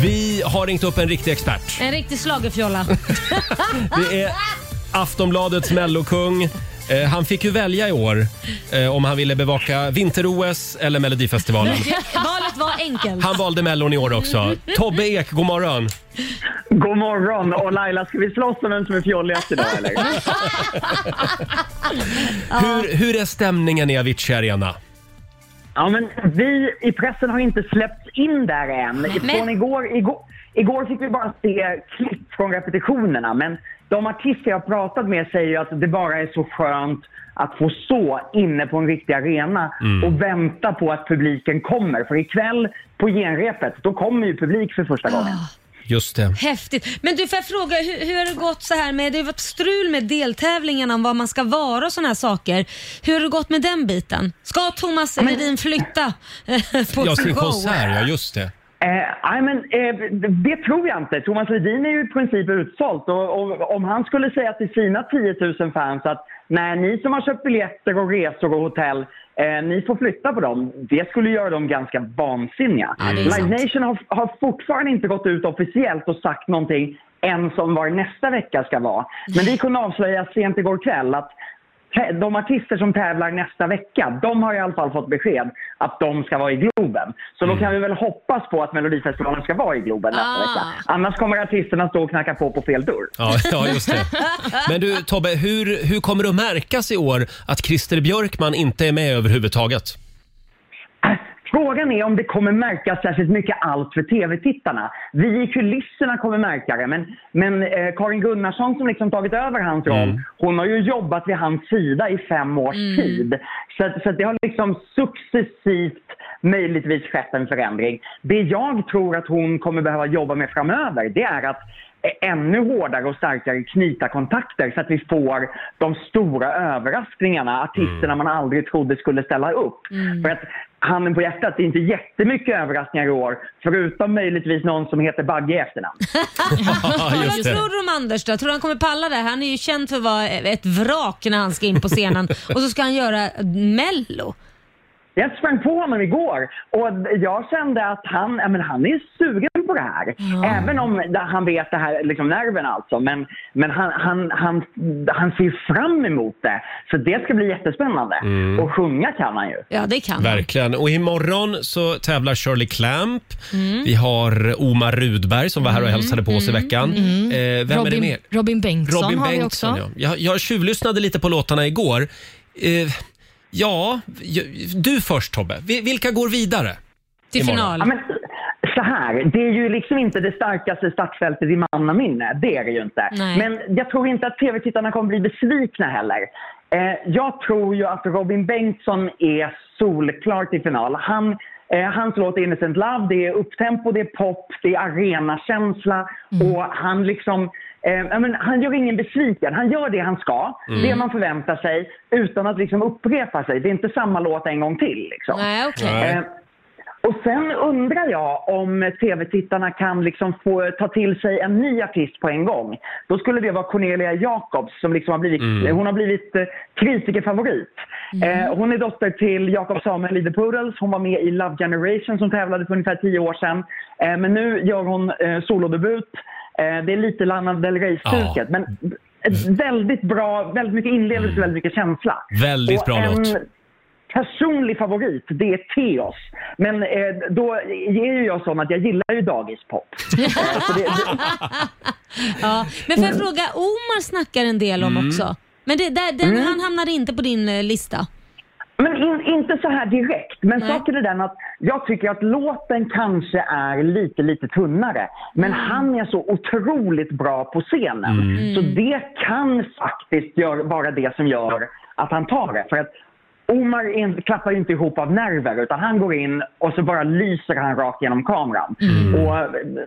Speaker 1: Vi har ringt upp en riktig expert.
Speaker 2: En riktig schlagerfjolla.
Speaker 1: Det är Aftonbladets mellokung. Eh, han fick ju välja i år eh, om han ville bevaka vinter-OS eller Melodifestivalen.
Speaker 2: Valet var enkelt.
Speaker 1: Han valde Mellon i år också. Tobbe Ek, god morgon.
Speaker 15: God morgon! Och Laila, ska vi slåss om vem som är fjolligast idag eller?
Speaker 1: Hur, hur är stämningen i Avicii Arena?
Speaker 15: Ja, men vi i pressen har inte släppts in där än. Från igår, igår, igår fick vi bara se klipp från repetitionerna, men de artister jag har pratat med säger ju att det bara är så skönt att få stå inne på en riktig arena
Speaker 16: Mm.
Speaker 15: och vänta på att publiken kommer. För ikväll på genrepet, då kommer ju publik för första gången.
Speaker 1: Just det.
Speaker 2: Häftigt. Men du, får jag fråga, hur, hur har det gått så här med, det har ju varit strul med deltävlingarna om vad man ska vara och sådana här saker. Hur har det gått med den biten? Ska Thomas Ledin flytta eh, på
Speaker 1: Ja, sin
Speaker 2: show?
Speaker 1: konsert, ja just det.
Speaker 15: Eh, nej, men, eh, det- det tror jag inte. Thomas Ledin är ju i princip utsålt. Och, och, om han skulle säga till sina 10 000 fans att nej, ni som har köpt biljetter och resor och hotell, eh, ni får flytta på dem. Det skulle göra dem ganska vansinniga.
Speaker 16: det är sant.
Speaker 15: Live Nation har, har fortfarande inte gått ut officiellt och sagt någonting ens om var nästa vecka ska vara. Men vi kunde avslöja sent igår kväll att tä- de artister som tävlar nästa vecka, de har i alla fall fått besked att de ska vara i Globen. Så då kan vi väl hoppas på att Melodifestivalen ska vara i Globen nästa
Speaker 2: Ah.
Speaker 15: vecka. Annars kommer artisterna stå och knacka på på fel dörr.
Speaker 1: Ja, ja just det. Men du Tobbe, hur, hur kommer det att märkas i år att Christer Björkman inte är med överhuvudtaget?
Speaker 15: Frågan är om det kommer märkas särskilt mycket allt för tv-tittarna. Vi i kulisserna kommer märka det, men, men eh, Karin Gunnarsson som liksom tagit över hans roll, hon har ju jobbat vid hans sida i fem års tid. Så, att- så att det har liksom successivt möjligtvis skett en förändring. Det jag tror att hon kommer behöva jobba med framöver, det är att eh, ännu hårdare och starkare knyta kontakter så att vi får
Speaker 10: Mm.
Speaker 15: de stora överraskningarna, artisterna man aldrig trodde skulle ställa upp. För att handen på hjärtat, det är inte jättemycket överraskningar i år. Förutom möjligtvis någon som heter Bagge i efternamn.
Speaker 2: Men
Speaker 15: just
Speaker 2: Vad
Speaker 15: det.
Speaker 2: tror du om Anders då? Tror du han kommer palla det? Han är ju känd för att vara ett vrak när han ska in på scenen och så ska han göra mello.
Speaker 15: Jag sprang på honom igår och jag kände att han, ja, men han är sugen på det här. Även om det- han vet det här, liksom nerven alltså. Men, men han, han, han, han ser fram emot det. Så det ska bli jättespännande.
Speaker 1: Mm.
Speaker 15: Och sjunga kan han ju.
Speaker 2: Ja, det kan
Speaker 1: Verkligen. Och imorgon så tävlar Shirley Clamp.
Speaker 3: Mm.
Speaker 1: Vi har Omar Rudberg som var här och hälsade på oss i veckan. Eh, vem
Speaker 3: Mm. Robin,
Speaker 1: är det mer?
Speaker 3: Robin Bengtsson
Speaker 1: Robin
Speaker 3: har vi också.
Speaker 1: Bengtsson, ja. Jag, jag tjuvlyssnade lite på låtarna igår. Eh, ja, j- du först Tobbe. Vi- Vilka går vidare? imorgon?
Speaker 15: Ja, men, så här, det är ju liksom inte det starkaste startfältet i mannaminne. Det är det ju inte.
Speaker 11: Nej.
Speaker 15: Men jag tror inte att tv-tittarna kommer bli besvikna heller. Eh, jag tror ju att Robin Bengtsson är solklart i final. Han, eh, hans låt är Innocent Love, det är upptempo, det är pop, det är arenakänsla och han liksom Eh, ja, men han gör ingen besviken. Han gör det han ska,
Speaker 11: Mm.
Speaker 15: det man förväntar sig, utan att liksom upprepa sig. Det är inte samma låt en gång till. Liksom.
Speaker 2: Nej, okej. Nej.
Speaker 15: Eh, och sen undrar jag om tv-tittarna kan liksom få ta till sig en ny artist på en gång. Då skulle det vara Cornelia Jacobs som liksom har blivit,
Speaker 11: Mm.
Speaker 15: hon har blivit eh, kritikerfavorit. Eh, hon är dotter till Jakob Samuel i The Poodles. Hon var med i Love Generation som tävlade för ungefär tio år sedan. Eh, men nu gör hon eh, solodebut. Eh, det är lite Lana Del Rey-stuket.
Speaker 1: Ja.
Speaker 15: Men eh, väldigt bra, väldigt mycket inlevelse, väldigt mycket känsla.
Speaker 1: Väldigt
Speaker 15: Och
Speaker 1: bra
Speaker 15: en,
Speaker 1: låt.
Speaker 15: personlig favorit, det är Teos. Men eh, då är ju jag sån att jag gillar ju dagispop.
Speaker 2: Ja. Men får jag fråga, Omar snackar en del om
Speaker 15: Mm.
Speaker 2: också. Men det, där, den,
Speaker 15: Mm.
Speaker 2: han hamnade inte på din eh, lista?
Speaker 15: Men in, inte så här direkt. Men saken är den att jag tycker att låten kanske är lite, lite tunnare. Men han är så otroligt bra på scenen.
Speaker 11: Mm.
Speaker 15: Så det kan faktiskt gör, vara det som gör att han tar det. För att Omar är inte- klappar ju inte ihop av nerver utan han går in och så bara lyser han rakt genom kameran. Och,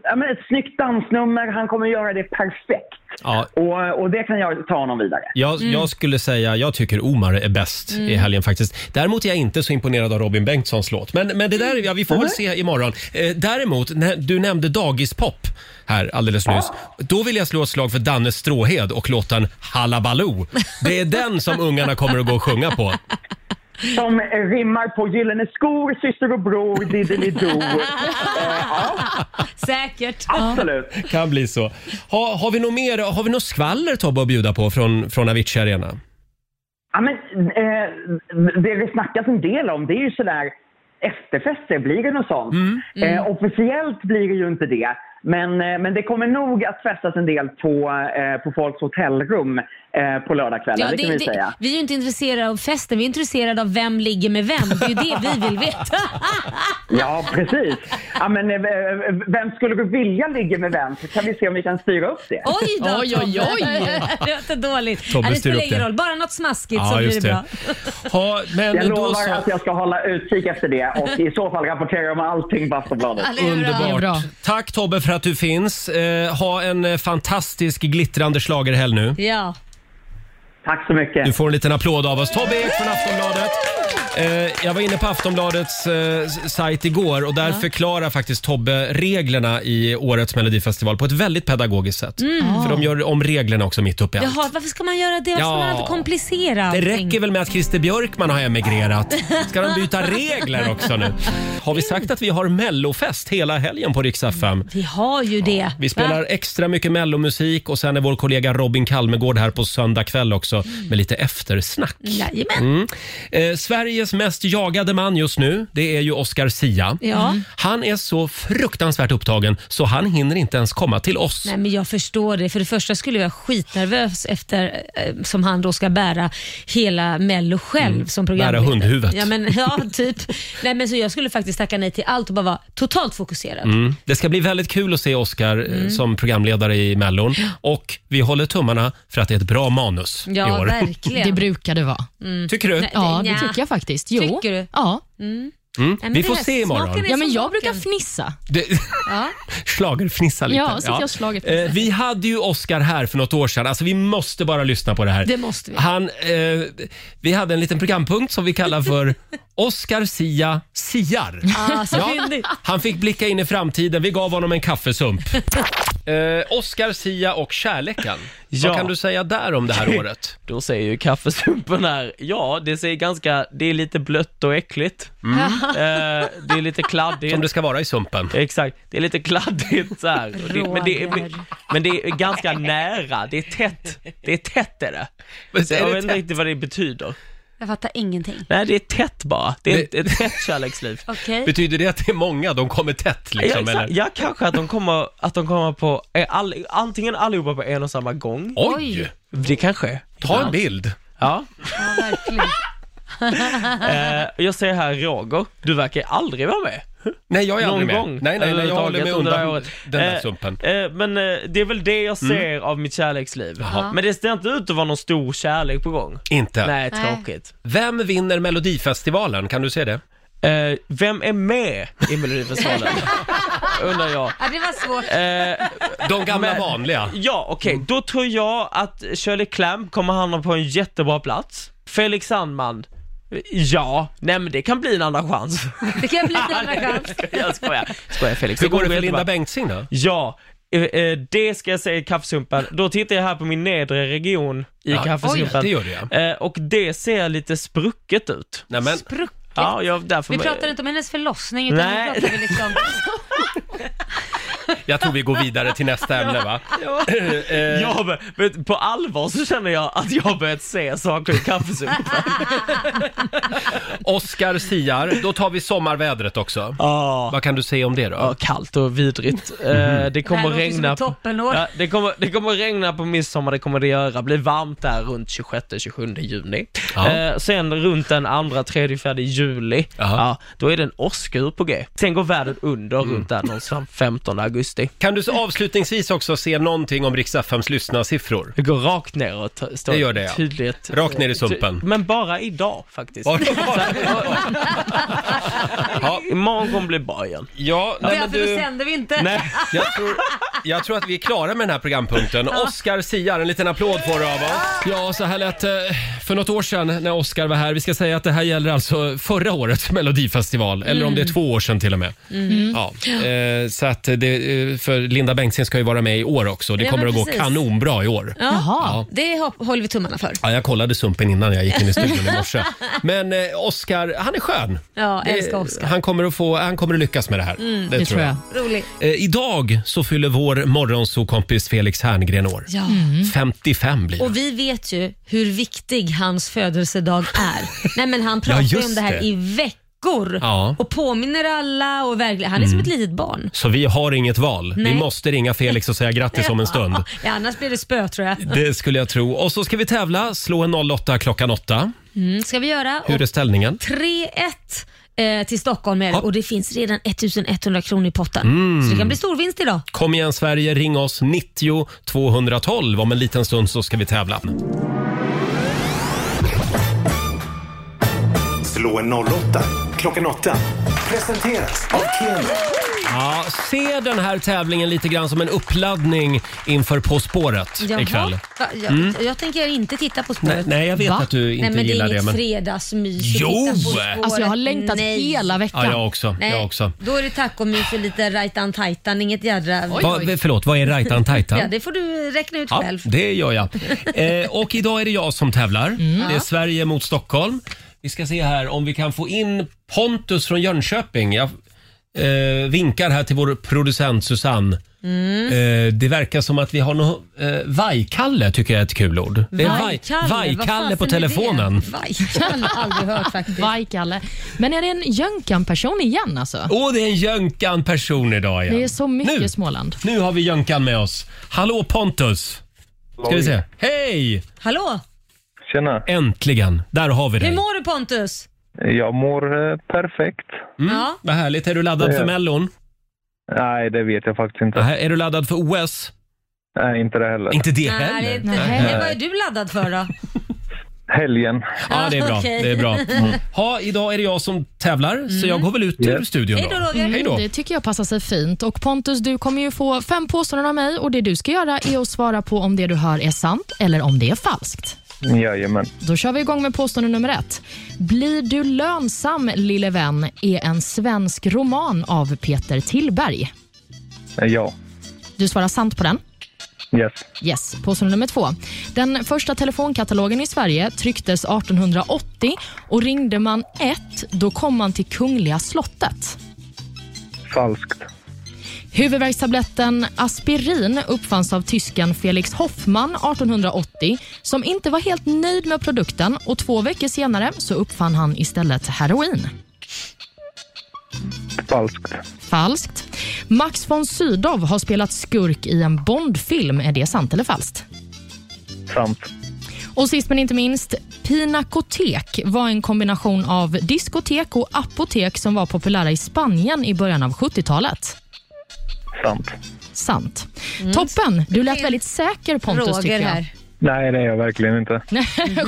Speaker 15: ja, men ett snyggt dansnummer, han kommer göra det perfekt.
Speaker 1: Ja,
Speaker 15: Och, och det kan jag ta honom vidare.
Speaker 1: Jag,
Speaker 2: Mm.
Speaker 1: jag skulle säga, jag tycker Omar är bäst
Speaker 15: Mm.
Speaker 1: i helgen faktiskt. Däremot är jag inte så imponerad av Robin Bengtssons låt. Men, men det
Speaker 2: Mm.
Speaker 1: där, ja, vi får väl se imorgon. Eh, däremot, när du nämnde dagispop här alldeles nyss.
Speaker 2: Ah.
Speaker 1: Då vill jag slå ett slag för Danne Stråhed och låten Hallabaloo. Det är den som ungarna kommer att gå och sjunga på.
Speaker 15: Som rimmar på Gyllene skor, syster och bror, diddelidoo.
Speaker 2: Säkert.
Speaker 15: Absolut.
Speaker 1: Kan bli så. Ha, har vi något mer, har vi något skvaller Tobbe att bjuda på från, från Avicii Arena?
Speaker 15: Ja, men, eh, det det snackas en del om det är ju sådär efterfester, blir det något sånt?
Speaker 11: Mm.
Speaker 15: Eh, officiellt blir det ju inte det. Men, eh, men det kommer nog att festas en del på, eh, på folks hotellrum eh, på lördagskvällen, det, kan vi säga.
Speaker 2: vi är ju inte intresserade av festen, vi är intresserade av vem ligger med vem. Det är ju det vi vill veta.
Speaker 15: Ja, precis. Ja, men, eh, vem skulle du vilja ligga med vem? Så kan vi se om vi kan styra upp det.
Speaker 2: Oj då
Speaker 11: Oj, oj, oj.
Speaker 2: Tobbe. Det låter dåligt.
Speaker 15: Tobbe
Speaker 2: Nej, det
Speaker 15: styr
Speaker 2: spelar
Speaker 15: upp
Speaker 2: ingen
Speaker 15: det.
Speaker 2: roll, bara något smaskigt
Speaker 15: Ja,
Speaker 2: så blir det,
Speaker 15: just det.
Speaker 2: bra.
Speaker 1: Ha, men
Speaker 15: jag
Speaker 1: Mm. då
Speaker 15: lovar
Speaker 1: så-
Speaker 15: att jag ska hålla utkik efter det och i så fall rapporterar jag om allting på Aftonbladet.
Speaker 1: Underbart. Tack Tobbe för att du finns. Eh, ha en eh, fantastisk glittrande schlagerhelg nu.
Speaker 2: Ja.
Speaker 15: Tack så mycket.
Speaker 1: Du får en liten applåd av oss. Tobbe Ek från Aftonbladet. Eh, jag var inne på Aftonbladets eh, s- sajt igår och där förklarar faktiskt Tobbe reglerna i årets melodifestival på ett väldigt pedagogiskt sätt.
Speaker 2: Mm.
Speaker 1: För de gör om reglerna också mitt uppe i allt.
Speaker 2: Jaha, varför ska man göra det? Varför ska man
Speaker 1: Ja.
Speaker 2: alltid komplicera
Speaker 1: Det
Speaker 2: allting?
Speaker 1: räcker väl med att Christer Björkman har emigrerat? Ska de byta regler också nu? Har vi sagt att vi har mellofest hela helgen på Rix FM?
Speaker 2: Vi har ju det.
Speaker 1: Vi spelar
Speaker 2: Va?
Speaker 1: extra mycket mellomusik och sen är vår kollega Robin Kalmegård här på söndag kväll också
Speaker 2: Mm.
Speaker 1: med lite eftersnack.
Speaker 2: Jajamän.
Speaker 1: Mm. Eh, Sveriges mest jagade man just nu, det är ju Oscar Sia.
Speaker 2: Ja. Mm.
Speaker 1: Han är så fruktansvärt upptagen så han hinner inte ens komma till oss.
Speaker 2: Nej, men jag förstår det. För det första skulle jag vara skitnervös efter, eh, som han då ska bära hela Mello själv som programledare.
Speaker 1: Mm. bära hundhuvudet.
Speaker 2: Ja, men, ja typ. Nej, men så jag skulle faktiskt tacka nej till allt och bara vara totalt fokuserad.
Speaker 1: Mm. Det ska bli väldigt kul att se Oscar eh,
Speaker 2: Mm.
Speaker 1: som programledare i Mellon. Och vi håller tummarna för att det är ett bra manus i år.
Speaker 3: Det brukar det vara.
Speaker 1: Tycker du?
Speaker 3: Ja, det
Speaker 2: nja.
Speaker 3: tycker jag faktiskt. Jo.
Speaker 2: Tycker du?
Speaker 3: Ja.
Speaker 1: Mm.
Speaker 3: men
Speaker 1: Vi
Speaker 3: det
Speaker 1: får
Speaker 3: här
Speaker 1: se imorgon.
Speaker 3: smaken är Ja, men som jag brukar fnissa.
Speaker 1: Det-
Speaker 2: Ja.
Speaker 1: Schlagerfnissa lite.
Speaker 3: Ja, så att jag schlagerfnissar.
Speaker 1: Eh, vi hade ju Oscar här för något år sedan. Alltså, vi måste bara lyssna på det här.
Speaker 2: Det måste vi.
Speaker 1: Han, eh, vi hade en liten programpunkt som vi kallar för Oscar Sia siar.
Speaker 2: Ah, så fyndigt.
Speaker 1: han fick blicka in i framtiden. Vi gav honom en kaffesump. Eh, Oscar Sia och kärleken.
Speaker 10: Ja.
Speaker 1: Vad kan du säga där om det här året?
Speaker 10: Då säger ju kaffesumpen här, ja det ser ganska, det är lite blött och äckligt.
Speaker 15: Mm.
Speaker 10: Eh, det är lite kladdigt.
Speaker 1: Som det ska vara i sumpen.
Speaker 10: Exakt, det är lite kladdigt så här. Och Det, men, det är,
Speaker 11: Roger.
Speaker 10: men det är ganska nära, det är tätt. Det är tätt är det.
Speaker 1: Men
Speaker 10: Så
Speaker 1: är
Speaker 10: jag
Speaker 1: det
Speaker 10: vet inte riktigt vad det betyder.
Speaker 2: Jag fattar ingenting.
Speaker 10: Nej, det är tätt bara. Det är ett, ett tätt kärleksliv.
Speaker 2: Okej.
Speaker 1: Betyder det att det är många, de kommer tätt liksom?
Speaker 10: ja,
Speaker 1: eller?
Speaker 10: exakt. ja, kanske att de kommer, att de kommer på, eh, all, antingen allihopa på en och samma gång.
Speaker 1: Oj!
Speaker 10: Det kanske är.
Speaker 1: Ta en bild.
Speaker 10: Ja.
Speaker 2: Ja, verkligen.
Speaker 10: Eh, jag säger här Roger, du verkar aldrig vara med.
Speaker 1: Nej, jag är
Speaker 10: Någon
Speaker 1: aldrig med.
Speaker 10: gång,
Speaker 1: Nej, nej, nej, jag håller mig
Speaker 10: överhuvudtaget under det här
Speaker 1: undan
Speaker 10: året.
Speaker 1: den där
Speaker 10: Eh,
Speaker 1: sumpen.
Speaker 10: eh, men eh, det är väl det jag
Speaker 1: Mm.
Speaker 10: ser av mitt kärleksliv.
Speaker 1: Jaha.
Speaker 10: Men det ser inte ut att vara någon stor kärlek på gång.
Speaker 1: Inte?
Speaker 10: Nej, tråkigt.
Speaker 1: Vem vinner Melodifestivalen? Kan du se det?
Speaker 10: Eh, vem är med i Melodifestivalen? Undrar jag. Eh,
Speaker 2: Ja, det var svårt.
Speaker 1: De gamla vanliga.
Speaker 10: Ja, okej.
Speaker 1: Mm.
Speaker 10: Då tror jag att Shirley Clamp kommer hamna på en jättebra plats. Felix Sandman, ja. Nej men det kan bli en andra chans.
Speaker 2: Det kan bli en andra chans.
Speaker 10: jag skojar. Skojar Felix.
Speaker 1: Hur går det för
Speaker 10: jättebra.
Speaker 1: Linda Bengtzing då?
Speaker 10: Ja, eh, eh, det ska jag säga i kaffesumpen. Då tittar jag här på min nedre region i
Speaker 1: Ja,
Speaker 10: kaffesumpen.
Speaker 1: oj, det gör du,
Speaker 10: Eh, Och det ser lite sprucket ut.
Speaker 2: Sprucket?
Speaker 10: Ja, jag, därför
Speaker 2: Vi pratar inte om hennes förlossning utan
Speaker 10: Nej.
Speaker 2: vi pratar väl liksom...
Speaker 1: Jag tror vi går vidare till nästa ämne va? Eh,
Speaker 10: Jag har bör- vet, på allvar så känner jag att jag har börjat se saker i kaffesumpen.
Speaker 1: Oscar siar, då tar vi sommarvädret också. Vad kan du säga om det då?
Speaker 10: kallt och vidrigt.
Speaker 1: Mm.
Speaker 10: Eh, det kommer
Speaker 2: det här låter ju som
Speaker 10: regna.
Speaker 2: ett toppenår.
Speaker 10: Ja, det, kommer, det kommer regna på midsommar, det kommer det göra. Blir varmt där runt 26-27 juni.
Speaker 11: Ja.
Speaker 10: Eh, sen runt den 2, 3, 4 juli, ja, då är det en åskur på G. Sen går världen under
Speaker 1: Mm.
Speaker 10: runt där någonstans 15 augusti.
Speaker 1: Kan du så avslutningsvis också se någonting om Rix FMs lyssnarsiffror?
Speaker 10: Det går rakt ner och står
Speaker 1: det gör det, ja.
Speaker 10: tydligt. eh,
Speaker 1: Rakt ner i sumpen.
Speaker 10: Men bara idag faktiskt.
Speaker 1: Bara-
Speaker 10: ja. Imorgon kommer bli bra igen.
Speaker 1: Ja, nej, men
Speaker 2: Därför då
Speaker 1: du...
Speaker 2: sänder vi inte.
Speaker 1: Nej, jag tror, jag tror att vi är klara med den här programpunkten.
Speaker 2: Ja.
Speaker 1: Oscar Siar, en liten applåd får du av oss. Ja, så här lät det för något år sedan när Oscar var här. Vi ska säga att det här gäller alltså förra årets melodifestival, eller om det är
Speaker 11: Mm.
Speaker 1: två år sedan till och med.
Speaker 11: Mm.
Speaker 1: Ja, eh, så att det, eh, för Linda Bengtzing ska ju vara med i år också. Det
Speaker 2: Ja,
Speaker 1: kommer
Speaker 2: men
Speaker 1: att gå
Speaker 2: precis.
Speaker 1: kanonbra i år.
Speaker 2: Jaha,
Speaker 1: Ja.
Speaker 2: det hopp- håller vi tummarna för.
Speaker 1: Ja, jag kollade sumpen innan jag gick in i studion i morse. Men eh, Oscar, han är skön.
Speaker 2: Ja,
Speaker 1: Det-
Speaker 2: älskar Oscar.
Speaker 1: Han kommer att, få, han kommer att lyckas med det här.
Speaker 2: Mm,
Speaker 1: det, tror jag.
Speaker 2: Rolig.
Speaker 1: Eh, idag så fyller vår morgonsokompis Felix Herngren år.
Speaker 2: Ja. Mm.
Speaker 1: 55 blir han.
Speaker 2: Och vi vet ju hur viktig hans födelsedag är. Nej men han
Speaker 1: Ja,
Speaker 2: pratar ju
Speaker 1: just
Speaker 2: om det här
Speaker 1: det.
Speaker 2: i veckor
Speaker 1: Ja. Mm.
Speaker 2: och påminner alla och verkligen, han är som ett litet barn.
Speaker 1: Så vi har inget val.
Speaker 2: Nej.
Speaker 1: Vi måste ringa Felix och säga grattis om en stund.
Speaker 2: Ja, annars blir det spö tror jag.
Speaker 1: Det skulle jag tro. Och så ska vi tävla. Slå en 08 klockan 8.
Speaker 2: Mm, ska vi göra.
Speaker 1: Hur är ställningen?
Speaker 2: 3-1 eh, till Stockholm är det och det finns redan 1100 kronor i potten.
Speaker 1: Mm.
Speaker 2: Så det kan bli stor vinst idag.
Speaker 1: Kom igen Sverige, ring oss 90 212. Om en liten stund så ska vi tävla.
Speaker 16: Slå en 08 klockan 8. Presenteras av Keno.
Speaker 1: Ja, se den här tävlingen lite grann som en uppladdning inför På spåret ikväll.
Speaker 2: Va, jag,
Speaker 1: Mm.
Speaker 2: jag tänker inte titta På
Speaker 1: Nej,
Speaker 2: spåret.
Speaker 1: nej, jag vet
Speaker 2: Va?
Speaker 1: att du inte
Speaker 2: Nej, men
Speaker 1: gillar
Speaker 2: det. är inget
Speaker 1: men...
Speaker 2: fredagsmys. att
Speaker 1: Jo!
Speaker 2: titta På spåret.
Speaker 3: Alltså, jag har längtat hela veckan.
Speaker 1: Ja, jag också. Jag också.
Speaker 2: Då är det tacomys och lite rajtan tajtan, inget jädra...
Speaker 1: Va, förlåt, vad är rajtan tajtan?
Speaker 2: Ja, det får du räkna ut
Speaker 1: Ja,
Speaker 2: själv.
Speaker 1: det gör jag. Eh, och idag är det jag som tävlar.
Speaker 3: Mm.
Speaker 1: Det är
Speaker 2: Ja.
Speaker 1: Sverige mot Stockholm. Vi ska se här om vi kan få in Pontus från Jönköping. Jag eh, vinkar här till vår producent Susanne.
Speaker 11: Mm.
Speaker 1: Eh, det verkar som att vi har något... Eh, vajkalle tycker jag är ett kul ord. Det är
Speaker 3: Vajkalle,
Speaker 1: vaj,
Speaker 3: vad
Speaker 1: vajkalle
Speaker 3: fasen
Speaker 1: på
Speaker 3: är det?
Speaker 1: telefonen.
Speaker 2: Vajkalle, aldrig hört faktiskt.
Speaker 3: Vajkalle. Men är det en Jönkan-person igen alltså?
Speaker 1: Åh, det är en jönkan person idag igen.
Speaker 3: Det är så mycket
Speaker 1: Nu.
Speaker 3: Småland.
Speaker 1: Nu har vi Jönkan med oss. Hallå Pontus! Ska vi se. Hej!
Speaker 2: Hallå!
Speaker 17: Tjena.
Speaker 1: Äntligen, där har vi
Speaker 2: Hur
Speaker 1: dig.
Speaker 2: mår du Pontus?
Speaker 17: Jag mår eh, perfekt.
Speaker 1: Mm.
Speaker 2: Ja.
Speaker 1: Vad härligt. Är du laddad
Speaker 17: Det-
Speaker 1: för Mellon?
Speaker 17: Nej, det vet jag faktiskt inte.
Speaker 1: är du laddad för OS?
Speaker 17: Nej, inte det heller.
Speaker 1: Inte det
Speaker 2: Nej, det är inte heller. Vad är du laddad för då?
Speaker 17: Helgen.
Speaker 1: Ja, det är bra.
Speaker 2: Okej. Mm.
Speaker 1: Det är bra. Mm. Ha, idag är det jag som tävlar, så jag går väl ut ur studion då. Hej då.
Speaker 3: Mm. Det tycker jag passar sig fint. Och Pontus, du kommer ju få fem påståenden av mig och det du ska göra är att svara på om det du hör är sant eller om det är falskt.
Speaker 17: Jajamän.
Speaker 3: Då kör vi igång med påstående nummer ett. Blir du lönsam, lille vän, är en svensk roman av Peter Tillberg.
Speaker 17: Eh, Ja.
Speaker 3: Du svarar sant på den.
Speaker 17: Yes.
Speaker 3: Yes. Påstående nummer två. Den första telefonkatalogen i Sverige trycktes 1880 och ringde man ett, då kom man till Kungliga slottet.
Speaker 17: Falskt.
Speaker 3: Huvudvärkstabletten Aspirin uppfanns av tysken Felix Hoffmann 1880 som inte var helt nöjd med produkten och två veckor senare så uppfann han istället heroin.
Speaker 17: Falskt.
Speaker 3: Falskt. Max von Sydow har spelat skurk i en Bondfilm. Är det sant eller falskt?
Speaker 17: Sant.
Speaker 3: Och sist men inte minst, pinakotek var en kombination av diskotek och apotek som var populära i Spanien i början av 70-talet.
Speaker 17: Sant.
Speaker 3: Sant. Toppen! Du lät väldigt säker Pontus
Speaker 17: Roger
Speaker 3: tycker jag.
Speaker 17: här. Nej, det är jag verkligen inte.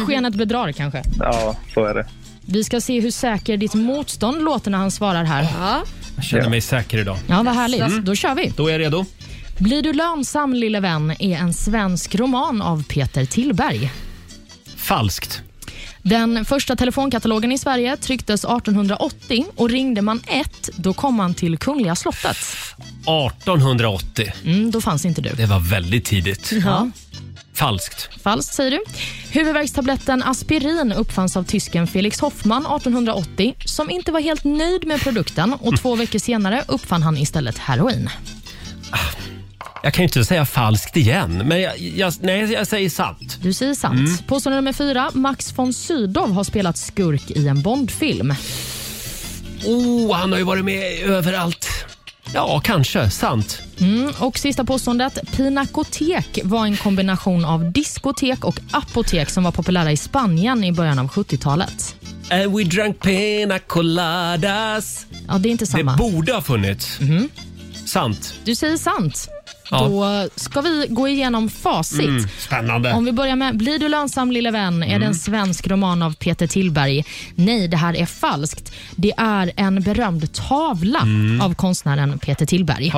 Speaker 3: Skenet bedrar kanske.
Speaker 17: Ja, så är det.
Speaker 3: Vi ska se hur säker ditt motstånd låter när han svarar här. Ja,
Speaker 1: Jag känner mig säker idag.
Speaker 3: ja vad härligt. Då kör vi.
Speaker 1: Då är jag redo.
Speaker 3: Blir du lönsam lille vän är en svensk roman av Peter Tillberg.
Speaker 1: Falskt.
Speaker 3: Den första telefonkatalogen i Sverige trycktes 1880 och ringde man ett, då kom man till Kungliga slottet.
Speaker 1: 1880.
Speaker 3: Mm, då fanns inte du.
Speaker 1: Det var väldigt tidigt.
Speaker 3: Ja.
Speaker 1: Falskt.
Speaker 3: Falskt säger du. Huvudvärkstabletten Aspirin uppfanns av tysken Felix Hoffmann 1880 som inte var helt nöjd med produkten och två veckor senare uppfann han istället heroin.
Speaker 1: Jag kan ju inte säga falskt igen, men jag, jag, nej, jag säger sant.
Speaker 3: Du säger sant.
Speaker 1: Mm.
Speaker 3: Påstående nummer fyra. Max von Sydow har spelat skurk i en Bondfilm.
Speaker 1: Oh, han har ju varit med överallt. Ja, kanske. Sant.
Speaker 3: Mm, och sista påståendet. Pinakotek var en kombination av diskotek och apotek som var populära i Spanien i början av 70-talet.
Speaker 1: And we drank pina coladas.
Speaker 3: Ja, det är inte samma. Mhm.
Speaker 1: Det borde ha funnits. Sant.
Speaker 3: Du säger sant.
Speaker 1: Ja.
Speaker 3: Då ska vi gå igenom facit.
Speaker 1: Mm, spännande. Mm.
Speaker 3: Om vi börjar med Blir du lönsam lille vän? Är det en svensk roman av Peter Tillberg? Nej, det här är falskt. Det är en berömd tavla
Speaker 12: Mm.
Speaker 3: av konstnären Peter Tillberg.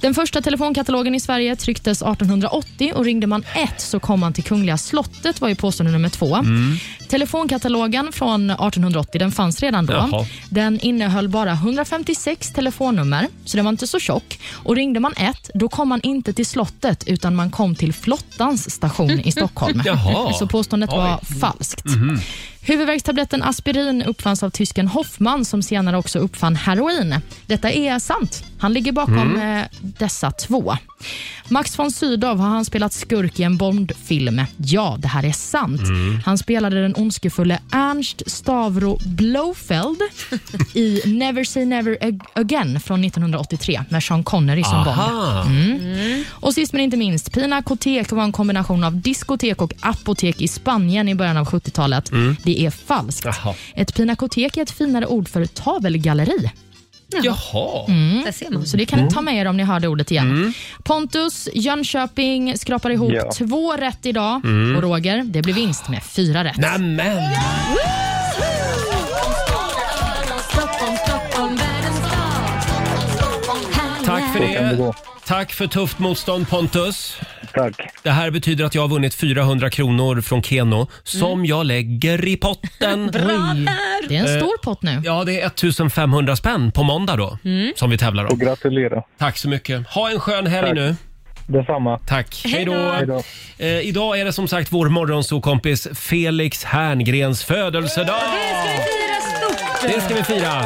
Speaker 3: Den första telefonkatalogen i Sverige trycktes 1880 och ringde man ett så kom man till Kungliga slottet var ju påstående nummer två.
Speaker 12: Mm.
Speaker 3: Telefonkatalogen från 1880 den fanns redan då.
Speaker 12: Jaha.
Speaker 3: Den innehöll bara 156 telefonnummer, så den var inte så tjock. Och Ringde man ett, då kom man inte till slottet utan man kom till flottans station i Stockholm.
Speaker 12: Jaha.
Speaker 3: Så påståendet var
Speaker 12: Oj. Mhm.
Speaker 3: falskt. Huvudvärkstabletten Aspirin uppfanns av tysken Hoffmann som senare också uppfann heroin. Detta är sant. Han ligger bakom
Speaker 12: Mm.
Speaker 3: eh, dessa två. Max von Sydow, har han spelat skurk i en Bondfilm? Ja, det här är sant.
Speaker 12: Mm.
Speaker 3: Han spelade den ondskefulle Ernst Stavro Blofeld i Never say never ag- again från 1983 med Sean Connery som
Speaker 12: Aha.
Speaker 3: Bond. Mm. Och sist men inte minst, Pinakotek var en kombination av diskotek och apotek i Spanien i början av 70-talet.
Speaker 1: Mm.
Speaker 3: Det är falskt. Ett pinakotek är ett finare ord för tavelgalleri.
Speaker 1: Jaha.
Speaker 3: Mm. Så det kan ni ta med er om ni hörde ordet igen. Pontus, Jönköping skrapar ihop
Speaker 1: Mm. Ja.
Speaker 3: två rätt idag
Speaker 1: Mm.
Speaker 3: och Roger, det blir vinst med fyra rätt.
Speaker 1: Nämen! Tack för
Speaker 12: Så kan det
Speaker 1: det. Tack för tufft motstånd Pontus. Tack. Det här betyder att jag har vunnit 400 kronor från Keno som
Speaker 3: Mm.
Speaker 1: jag lägger i potten.
Speaker 3: Det är en
Speaker 1: Eh,
Speaker 3: stor pott nu.
Speaker 1: Ja, det är 1500 spänn på måndag då
Speaker 3: Mm.
Speaker 1: som vi tävlar om. Och gratulerar. Tack så mycket. Ha en skön helg nu. Detsamma. Tack. Hej
Speaker 12: Hej
Speaker 1: då.
Speaker 12: då.
Speaker 1: Eh, idag är det som sagt vår morgonsokompis Felix Herngrens födelsedag. Det ska vi fira.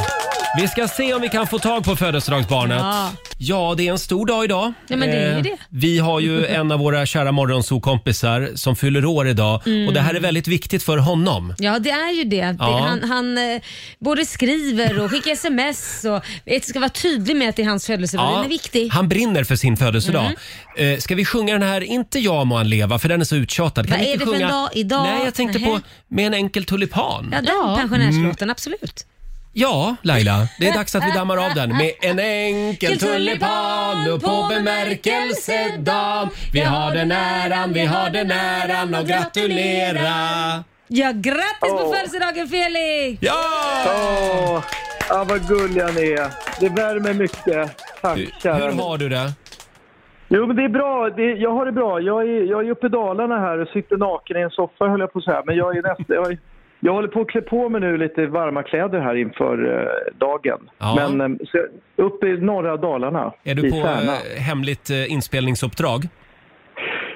Speaker 1: Vi ska se om vi kan få tag på födelsedagsbarnet. Ja,
Speaker 2: Ja.
Speaker 1: det är en stor dag idag.
Speaker 2: Ja, men det är ju
Speaker 1: Eh,
Speaker 2: det.
Speaker 1: Vi har ju en av våra kära morgonsokompisar som fyller år idag
Speaker 2: Mm.
Speaker 1: och det här är väldigt viktigt för honom.
Speaker 2: Ja, det är ju det.
Speaker 1: Ja.
Speaker 2: det han han eh, både skriver och skickar sms och det ska vara tydlig med att det är hans födelsedag.
Speaker 1: Ja,
Speaker 2: Den är viktig. Mm.
Speaker 1: Han brinner för sin födelsedag. Eh, ska vi sjunga den här, inte jag må han leva, för den är så uttjatad.
Speaker 2: Vad
Speaker 1: vi
Speaker 2: är
Speaker 1: inte
Speaker 2: det för en
Speaker 1: sjunga-
Speaker 2: dag idag?
Speaker 1: Nej, jag tänkte på
Speaker 2: Nähä.
Speaker 1: med en enkel tulipan.
Speaker 2: Ja, den pensionärslåten,
Speaker 18: Mm.
Speaker 2: absolut.
Speaker 1: Ja, Laila, det är dags att vi dammar av den med en enkel tulipan och på bemärkelsedagen. Vi har den äran, vi har den äran och gratulera.
Speaker 2: Ja, grattis på födelsedagen Felix!
Speaker 1: Ja!
Speaker 16: Åh, ja, vad gulliga ni är. Det värmer mycket. Tack, kära
Speaker 1: Hur har du det?
Speaker 18: Jo, men det är bra. Det, jag har det bra. Jag är, jag är uppe i Dalarna här och sitter naken i en soffa, höll jag på att säga. Men jag, är nästa, jag, är, jag håller på att klä på mig nu lite varma kläder här inför eh, dagen.
Speaker 1: Ja.
Speaker 18: Men eh, så, jag- uppe i norra Dalarna,
Speaker 1: Är du
Speaker 18: i
Speaker 1: på
Speaker 18: Särna.
Speaker 1: eh, hemligt eh, inspelningsuppdrag?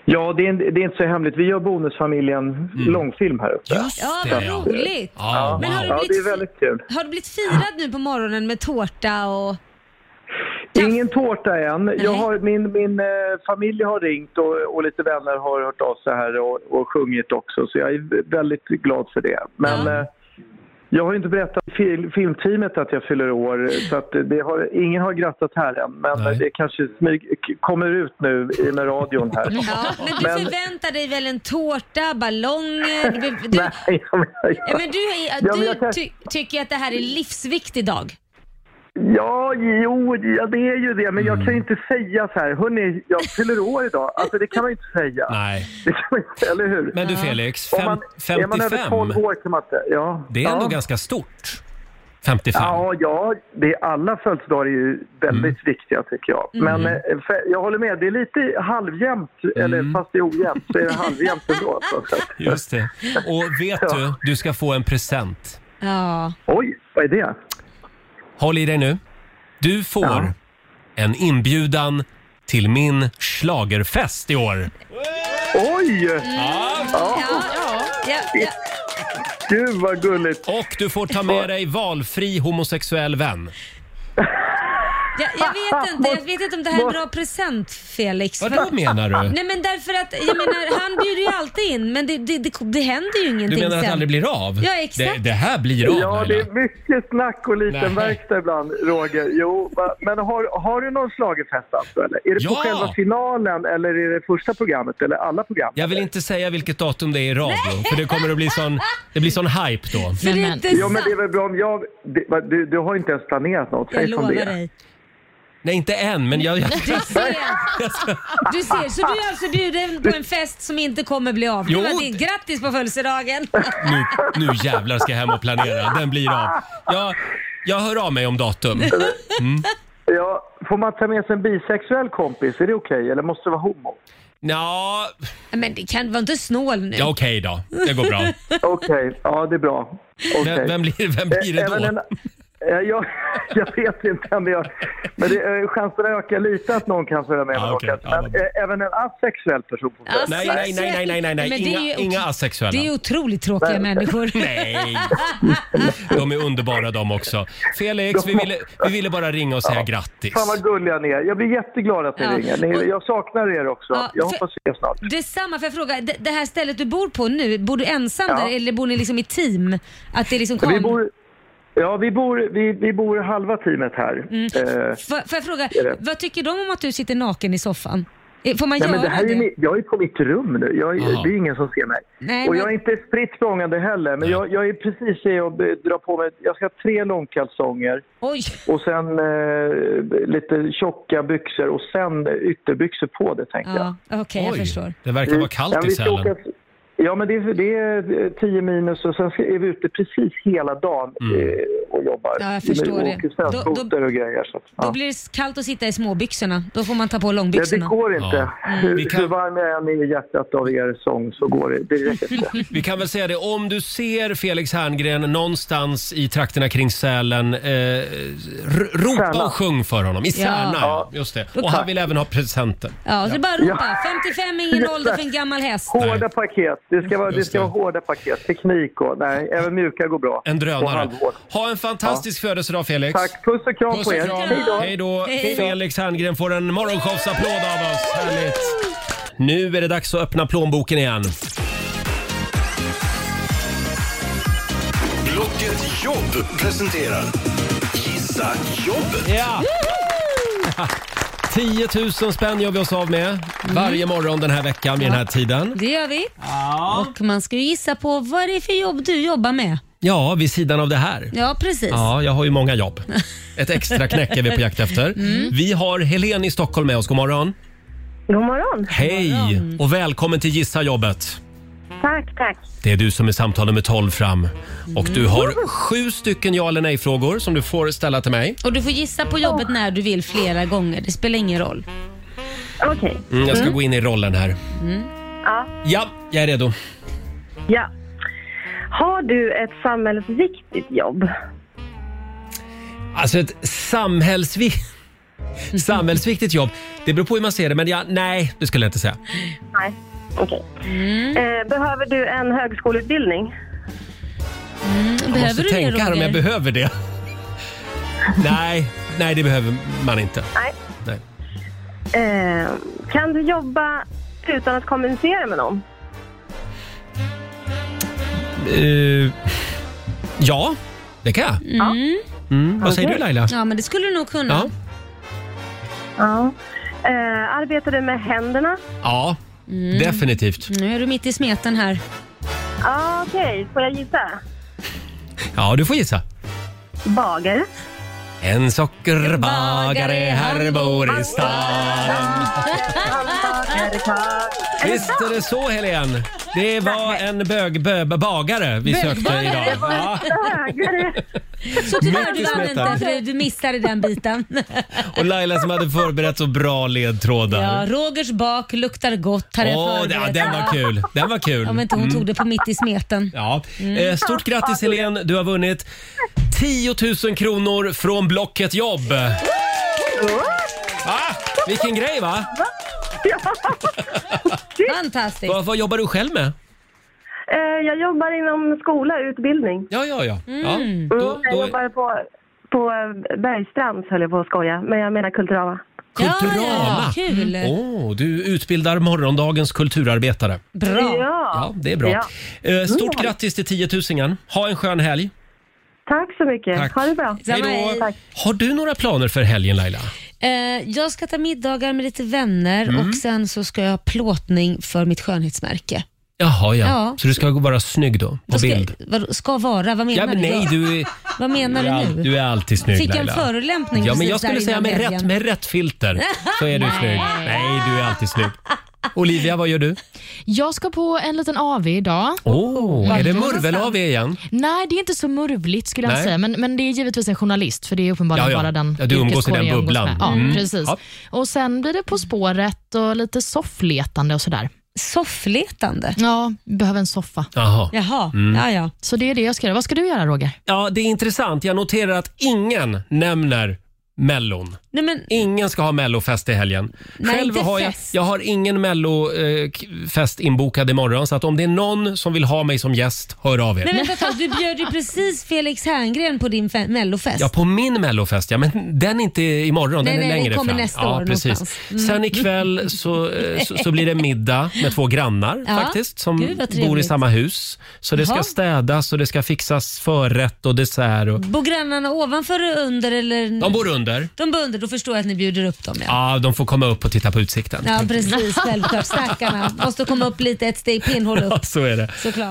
Speaker 18: Ja, det är, det är inte så hemligt. Vi gör Bonusfamiljen
Speaker 1: Mm.
Speaker 18: långfilm här uppe. Just
Speaker 2: Ja, vad roligt!
Speaker 18: Ja,
Speaker 2: Men har du
Speaker 18: ja, det
Speaker 2: blivit
Speaker 18: är väldigt kul.
Speaker 2: Har du blivit firad nu på morgonen med tårta och...
Speaker 18: Ingen tårta än. Jag har, min min eh, familj har ringt och, och lite vänner har hört av sig här och, och sjungit också, så jag är väldigt glad för det. Men eh, jag har ju inte berättat för fil, filmteamet att jag fyller år, så att det har, ingen har grattat här än. Men eh, det kanske smyg, k- kommer ut nu i med radion här.
Speaker 2: Ja, men du
Speaker 18: Men-
Speaker 2: förväntar dig väl en tårta, ballonger? Du, du,
Speaker 18: Nej, jag,
Speaker 2: Ja, men du, är-
Speaker 18: Ja, men
Speaker 2: du
Speaker 18: jag kanske-
Speaker 2: ty, tycker att det här är livsviktig dag.
Speaker 18: Ja, jo, ja, det är ju det. Men jag kan ju inte säga så här, hörni, jag fyller år idag. Alltså det kan man ju inte säga.
Speaker 1: Mm. Nej.
Speaker 18: Det kan man inte, eller hur?
Speaker 1: Men du Felix,
Speaker 18: Om man-
Speaker 1: fem-
Speaker 18: Är man över
Speaker 1: 55?
Speaker 18: 12 år kan man inte, ja.
Speaker 1: Det är
Speaker 18: ja.
Speaker 1: ändå ganska stort. 55.
Speaker 18: Ja, ja det är, alla födelsedagar är ju väldigt viktiga tycker jag.
Speaker 1: Mm.
Speaker 18: Men eh, för, jag håller med, det är lite halvjämnt, eller fast det är ojämnt, så är det halvjämnt ändå. Så att-
Speaker 1: Just det. Och vet du, du ska få en present.
Speaker 2: Ja.
Speaker 18: Oj, vad är det?
Speaker 1: Håll i dig nu. Du får en inbjudan till min schlagerfest i år.
Speaker 18: Oj!
Speaker 2: Ja. Ja, ja.
Speaker 18: Gud vad gulligt!
Speaker 1: Och du får ta med dig valfri homosexuell vän.
Speaker 2: Jag, jag, vet inte, jag vet inte om det här är en bra present, Felix.
Speaker 1: Vadå,
Speaker 2: För-
Speaker 1: menar du?
Speaker 2: Nej, men därför att, jag menar, han bjuder ju alltid in, men det, det, det, det händer ju
Speaker 1: Du
Speaker 2: ingenting
Speaker 1: menar att det
Speaker 2: sen.
Speaker 1: aldrig blir av?
Speaker 2: Ja, exakt.
Speaker 1: Det, det här blir av
Speaker 18: Ja, det
Speaker 1: Laila.
Speaker 18: är mycket snack och liten
Speaker 1: Nej.
Speaker 18: verkstad ibland, Roger. Jo, va- men har, har du någon schlagerfest alltså, eller? Är det på
Speaker 1: Ja.
Speaker 18: själva finalen eller är det första programmet eller alla program?
Speaker 1: Jag vill inte säga vilket datum det är i radio, för det kommer att bli sån, det blir sån hype då.
Speaker 18: Ja, men det är väl bra om jag... Det, va, du, du har inte ens planerat något, säg som det är.
Speaker 1: Nej, inte än, men jag... jag...
Speaker 2: Du ser, du ser, så du är alltså bjuden på en fest som inte kommer bli av.
Speaker 1: Jo.
Speaker 2: Jo. Grattis på födelsedagen!
Speaker 1: Nu, nu jävlar ska jag hem och planera. Den blir av. Jag, jag hör av mig om datum. Mm.
Speaker 18: Ja, får man ta med sig en bisexuell kompis? Är det okej? Eller måste det vara homo?
Speaker 1: Ja,
Speaker 2: Men det kan, var inte snål nu.
Speaker 1: ja okej då. Det går bra.
Speaker 18: Okej, ja det är bra. Okej.
Speaker 1: Vem, vem, blir, vem blir det
Speaker 18: Även en-
Speaker 1: då?
Speaker 18: Eh, jag, jag vet inte, men, jag, men det, eh, chansen ökar lite att någon kan följa med.
Speaker 1: Ja,
Speaker 18: mig
Speaker 1: Ah, okej.
Speaker 18: kanske.
Speaker 1: Ja,
Speaker 18: men eh, även en asexuell person får följa med.
Speaker 1: Nej, nej, nej, nej, nej, nej, nej.
Speaker 2: Alltså, Men det
Speaker 1: Inga,
Speaker 2: är ju-
Speaker 1: inga asexuella.
Speaker 2: Det är otroligt tråkiga människor.
Speaker 1: Nej. De är underbara de också. Felix, vi ville, vi ville bara ringa och säga grattis.
Speaker 18: Fan vad gulliga ni är. Jag blir jätteglad att ni
Speaker 2: Ja.
Speaker 18: ringer. Ni, jag saknar er också.
Speaker 2: Ja,
Speaker 18: jag
Speaker 2: för-
Speaker 18: hoppas vi ses snart.
Speaker 2: Detsamma, får jag fråga, det, det här stället du bor på nu, bor du ensam
Speaker 18: Ja.
Speaker 2: där eller bor ni liksom i team? Att det liksom kom...
Speaker 18: Vi bor, ja, vi bor, vi, vi bor halva teamet här.
Speaker 2: Mm.
Speaker 18: Eh,
Speaker 2: Får- får jag fråga,
Speaker 18: är det.
Speaker 2: vad tycker de om att du sitter naken i soffan? Eh, Får man
Speaker 18: Nej,
Speaker 2: göra
Speaker 18: men det
Speaker 2: det?
Speaker 18: här är, ju mi- jag är på mitt rum nu. Jag,
Speaker 1: Jaha.
Speaker 18: det är ingen som ser mig.
Speaker 2: Nej,
Speaker 18: och
Speaker 2: men-
Speaker 18: jag är inte spritt språngande heller, men jag, jag är precis i att eh, dra på mig... Jag ska ha tre långkalsonger
Speaker 2: Oj!
Speaker 18: och sen eh, lite tjocka byxor och sen ytterbyxor på det, tänkte jag.
Speaker 2: Ja, okej, jag förstår.
Speaker 1: Det verkar vara
Speaker 18: Ja,
Speaker 1: kallt
Speaker 18: men
Speaker 1: i
Speaker 18: vi ska
Speaker 1: Sälen.
Speaker 18: åka-
Speaker 19: Mm.
Speaker 18: Ja, men det är, det är 10 minus och sen ska- är vi ute precis hela dagen
Speaker 1: Mm.
Speaker 18: eh, och jobbar.
Speaker 2: Ja, jag förstår
Speaker 18: Vi
Speaker 2: det.
Speaker 18: åker
Speaker 2: Då- då-
Speaker 18: snöskoter och grejer. Så, att-
Speaker 2: Då
Speaker 18: ja.
Speaker 2: blir det kallt att sitta i småbyxorna. Då får man ta på
Speaker 18: Ja, det
Speaker 2: långbyxorna.
Speaker 18: går inte.
Speaker 1: Vi
Speaker 18: Hur,
Speaker 1: kan-
Speaker 18: hur varm jag än är i hjärtat av er sång så går det. Det räcker inte.
Speaker 1: Vi kan väl säga det, om du ser Felix Herngren någonstans i trakterna kring Sälen, eh, r- ropa
Speaker 2: Särna.
Speaker 1: och sjung för honom. I
Speaker 2: Ja.
Speaker 1: Särna, ja.
Speaker 2: Ja.
Speaker 1: just det.
Speaker 2: Då
Speaker 1: Och han
Speaker 2: tack.
Speaker 1: vill även ha presenter.
Speaker 2: Ja, så det är bara att ropa. 55 är ingen ålder för en gammal häst.
Speaker 18: Hårda paket. Det ska vara, det
Speaker 1: Just
Speaker 18: ska
Speaker 1: det.
Speaker 18: vara hårda paket. Teknik och... Nej, även mjuka går bra.
Speaker 1: En
Speaker 18: Och
Speaker 1: drönare.
Speaker 18: halvhård.
Speaker 1: Ha en fantastisk födelsedag Felix.
Speaker 18: Tack. Puss och kram
Speaker 1: Puss
Speaker 18: på
Speaker 1: och
Speaker 18: er.
Speaker 1: kram.
Speaker 18: Hej då.
Speaker 1: Hej då.
Speaker 18: Hej då.
Speaker 1: Felix Herngren får en morgonshowsapplåd av oss. Härligt. Nu är det dags att öppna plånboken igen.
Speaker 16: Blocket Jobb presenterar Gissa Jobbet.
Speaker 1: Ja. 10 000 spänn gör vi oss av med varje morgon den här veckan vid den här tiden.
Speaker 2: Det gör vi. Och man ska ju gissa på vad det är för jobb du jobbar med.
Speaker 1: Ja, vid sidan av det här.
Speaker 2: Ja, precis.
Speaker 1: Ja, jag har ju många jobb. Ett extra knäck är vi på jakt efter.
Speaker 2: Mm.
Speaker 1: Vi har Helen i Stockholm med oss. God morgon.
Speaker 19: God morgon.
Speaker 1: Hej och välkommen till Gissa jobbet.
Speaker 19: Tack, tack.
Speaker 1: Det är du som är samtal nummer 12 fram. Och du
Speaker 19: Mm.
Speaker 1: har sju stycken ja eller nej-frågor som du får ställa till mig.
Speaker 2: Och du får gissa på jobbet när du vill flera gånger. Det spelar ingen roll.
Speaker 19: Okej.
Speaker 1: Mm, jag ska gå in i rollen här.
Speaker 19: Mm. Ja.
Speaker 1: Ja, jag är redo.
Speaker 19: ja. Har du ett samhällsviktigt jobb?
Speaker 1: Alltså ett samhällsvi... samhällsviktigt jobb. Det beror på hur man ser det, men ja, nej, det skulle jag inte säga.
Speaker 19: Nej. Okej. Eh, behöver du en högskoleutbildning?
Speaker 1: Jag måste tänka här om jag behöver det. nej, nej, det behöver man inte.
Speaker 19: Nej.
Speaker 1: Nej.
Speaker 19: Eh, kan du jobba utan att kommunicera med någon?
Speaker 1: Eh, ja, det kan jag.
Speaker 2: Mm.
Speaker 1: Mm. Vad säger du Laila?
Speaker 2: Ja, men det skulle du nog kunna.
Speaker 1: Ja.
Speaker 19: Ja. Eh, arbetar du med händerna?
Speaker 1: Ja, Mm. definitivt.
Speaker 2: Nu är du mitt i smeten här.
Speaker 19: Ja, okej. Får jag gissa?
Speaker 1: Ja, du får gissa.
Speaker 19: Bagare?
Speaker 1: En sockerbagare, här bor i stan. Visst är det så Helen? Det var en bög, bö, bagare vi sökte idag.
Speaker 2: Det var
Speaker 1: Ja.
Speaker 2: Så tyvärr,
Speaker 1: Mitt i
Speaker 2: du vann
Speaker 1: smeten.
Speaker 2: inte för du missade den biten.
Speaker 1: Och Laila som hade förberett så bra
Speaker 2: Ja,
Speaker 1: ledtrådar.
Speaker 2: Rogers bak luktar gott. Hade jag
Speaker 1: Åh,
Speaker 2: förberett.
Speaker 1: det- ja, den var kul. Den var kul.
Speaker 2: Ja, men inte hon
Speaker 1: Mm.
Speaker 2: tog det på mitt i smeten.
Speaker 1: Ja.
Speaker 2: Mm.
Speaker 1: Eh, Stort grattis Helen, du har vunnit 10 000 kronor från Blocket Jobb. Va? Vilken grej va?
Speaker 2: Fantastiskt.
Speaker 1: Vad, vad jobbar du själv med?
Speaker 19: Eh, jag jobbar inom skola, utbildning.
Speaker 1: Ja, ja, ja. Ja,
Speaker 19: Mm.
Speaker 1: då-
Speaker 19: jag
Speaker 1: då-
Speaker 19: jobbar på, på eh, Bergstrands, höll jag på att skoja. Men jag menar Kulturama.
Speaker 1: Kulturama.
Speaker 19: ja, kul.
Speaker 1: Mm. Åh, du utbildar morgondagens kulturarbetare.
Speaker 19: Bra.
Speaker 1: Ja, det är bra.
Speaker 19: Ja.
Speaker 1: Eh, Stort
Speaker 19: Ja.
Speaker 1: grattis till 10 000 Ha en skön helg.
Speaker 19: Tack så mycket.
Speaker 1: Tack.
Speaker 19: Ha det bra.
Speaker 1: Hej då. Har du några planer för helgen Laila?
Speaker 2: Eh, jag ska ta middagar med lite vänner
Speaker 1: Mm.
Speaker 2: och sen så ska jag ha plåtning för mitt skönhetsmärke.
Speaker 1: Jaha, ja.
Speaker 2: Ja.
Speaker 1: Så du ska vara snygg då, på
Speaker 2: Vad ska,
Speaker 1: bild?
Speaker 2: Vad, ska vara? Vad menar
Speaker 1: Ja, men
Speaker 2: du?
Speaker 1: nej, du är,
Speaker 2: Vad menar
Speaker 1: du, är
Speaker 2: du
Speaker 1: all-
Speaker 2: nu?
Speaker 1: du är alltid snygg
Speaker 2: Fick jag en
Speaker 1: Laila.
Speaker 2: förolämpning
Speaker 1: Ja, men
Speaker 2: precis
Speaker 1: jag
Speaker 2: där
Speaker 1: skulle säga
Speaker 2: innan
Speaker 1: med
Speaker 2: helgen?
Speaker 1: rätt, med rätt filter så är du snygg. Nej, du är alltid snygg. Olivia, vad gör du?
Speaker 3: Jag ska på en liten AV idag.
Speaker 1: Åh,
Speaker 3: Var
Speaker 1: är det
Speaker 3: då
Speaker 1: murvel-AW igen?
Speaker 3: Nej, det är inte så murvligt skulle
Speaker 1: Nej.
Speaker 3: jag säga. Men, men det är givetvis en journalist för det är uppenbarligen
Speaker 1: Ja, ja.
Speaker 3: bara den
Speaker 1: Ja, du umgås i
Speaker 3: yrkeskår
Speaker 1: den
Speaker 3: jag umgås
Speaker 1: bubblan.
Speaker 3: med. Ja,
Speaker 1: Mm.
Speaker 3: precis.
Speaker 1: Ja.
Speaker 3: Och sen blir det På spåret och lite soffletande och sådär.
Speaker 2: Soffletande?
Speaker 3: Ja, behöver en soffa.
Speaker 1: Jaha. Mm.
Speaker 2: ja.
Speaker 3: Så det är det jag ska göra. Vad ska du göra Roger?
Speaker 1: Ja, det är intressant. Jag noterar att ingen nämner Mellon.
Speaker 2: Nej, men,
Speaker 1: Ingen ska ha mellofest i helgen.
Speaker 2: Nej, inte
Speaker 1: har jag,
Speaker 2: fest.
Speaker 1: jag har ingen mellofest inbokad imorgon, så att om det är någon som vill ha mig som gäst, hör av er.
Speaker 2: men vänta ett tag, du bjöd ju precis Felix Herngren på din fe- mellofest.
Speaker 1: Ja, på min mellofest ja, men den är inte imorgon,
Speaker 2: Nej,
Speaker 1: den är
Speaker 2: nej, den
Speaker 1: längre
Speaker 2: kommer
Speaker 1: fram.
Speaker 2: nästa
Speaker 1: ja,
Speaker 2: år någonstans.
Speaker 1: precis.
Speaker 2: Mm.
Speaker 1: Sen ikväll så, eh, så, så blir det middag med två grannar
Speaker 2: Ja.
Speaker 1: faktiskt, som
Speaker 2: Gud, vad
Speaker 1: bor i
Speaker 2: trevligt.
Speaker 1: samma hus. Så det ska
Speaker 2: Jaha.
Speaker 1: städas och det ska fixas förrätt och dessert. Och...
Speaker 2: Bor grannarna ovanför och under eller?
Speaker 1: De bor under.
Speaker 2: De bor under, då förstår jag att ni bjuder upp dem. Ja,
Speaker 1: Ja, de får komma upp och titta på utsikten.
Speaker 2: ja precis. Självklart. Stackarna. Måste komma upp lite, ett steg pinnhål upp.
Speaker 1: Så är det.
Speaker 2: Såklart.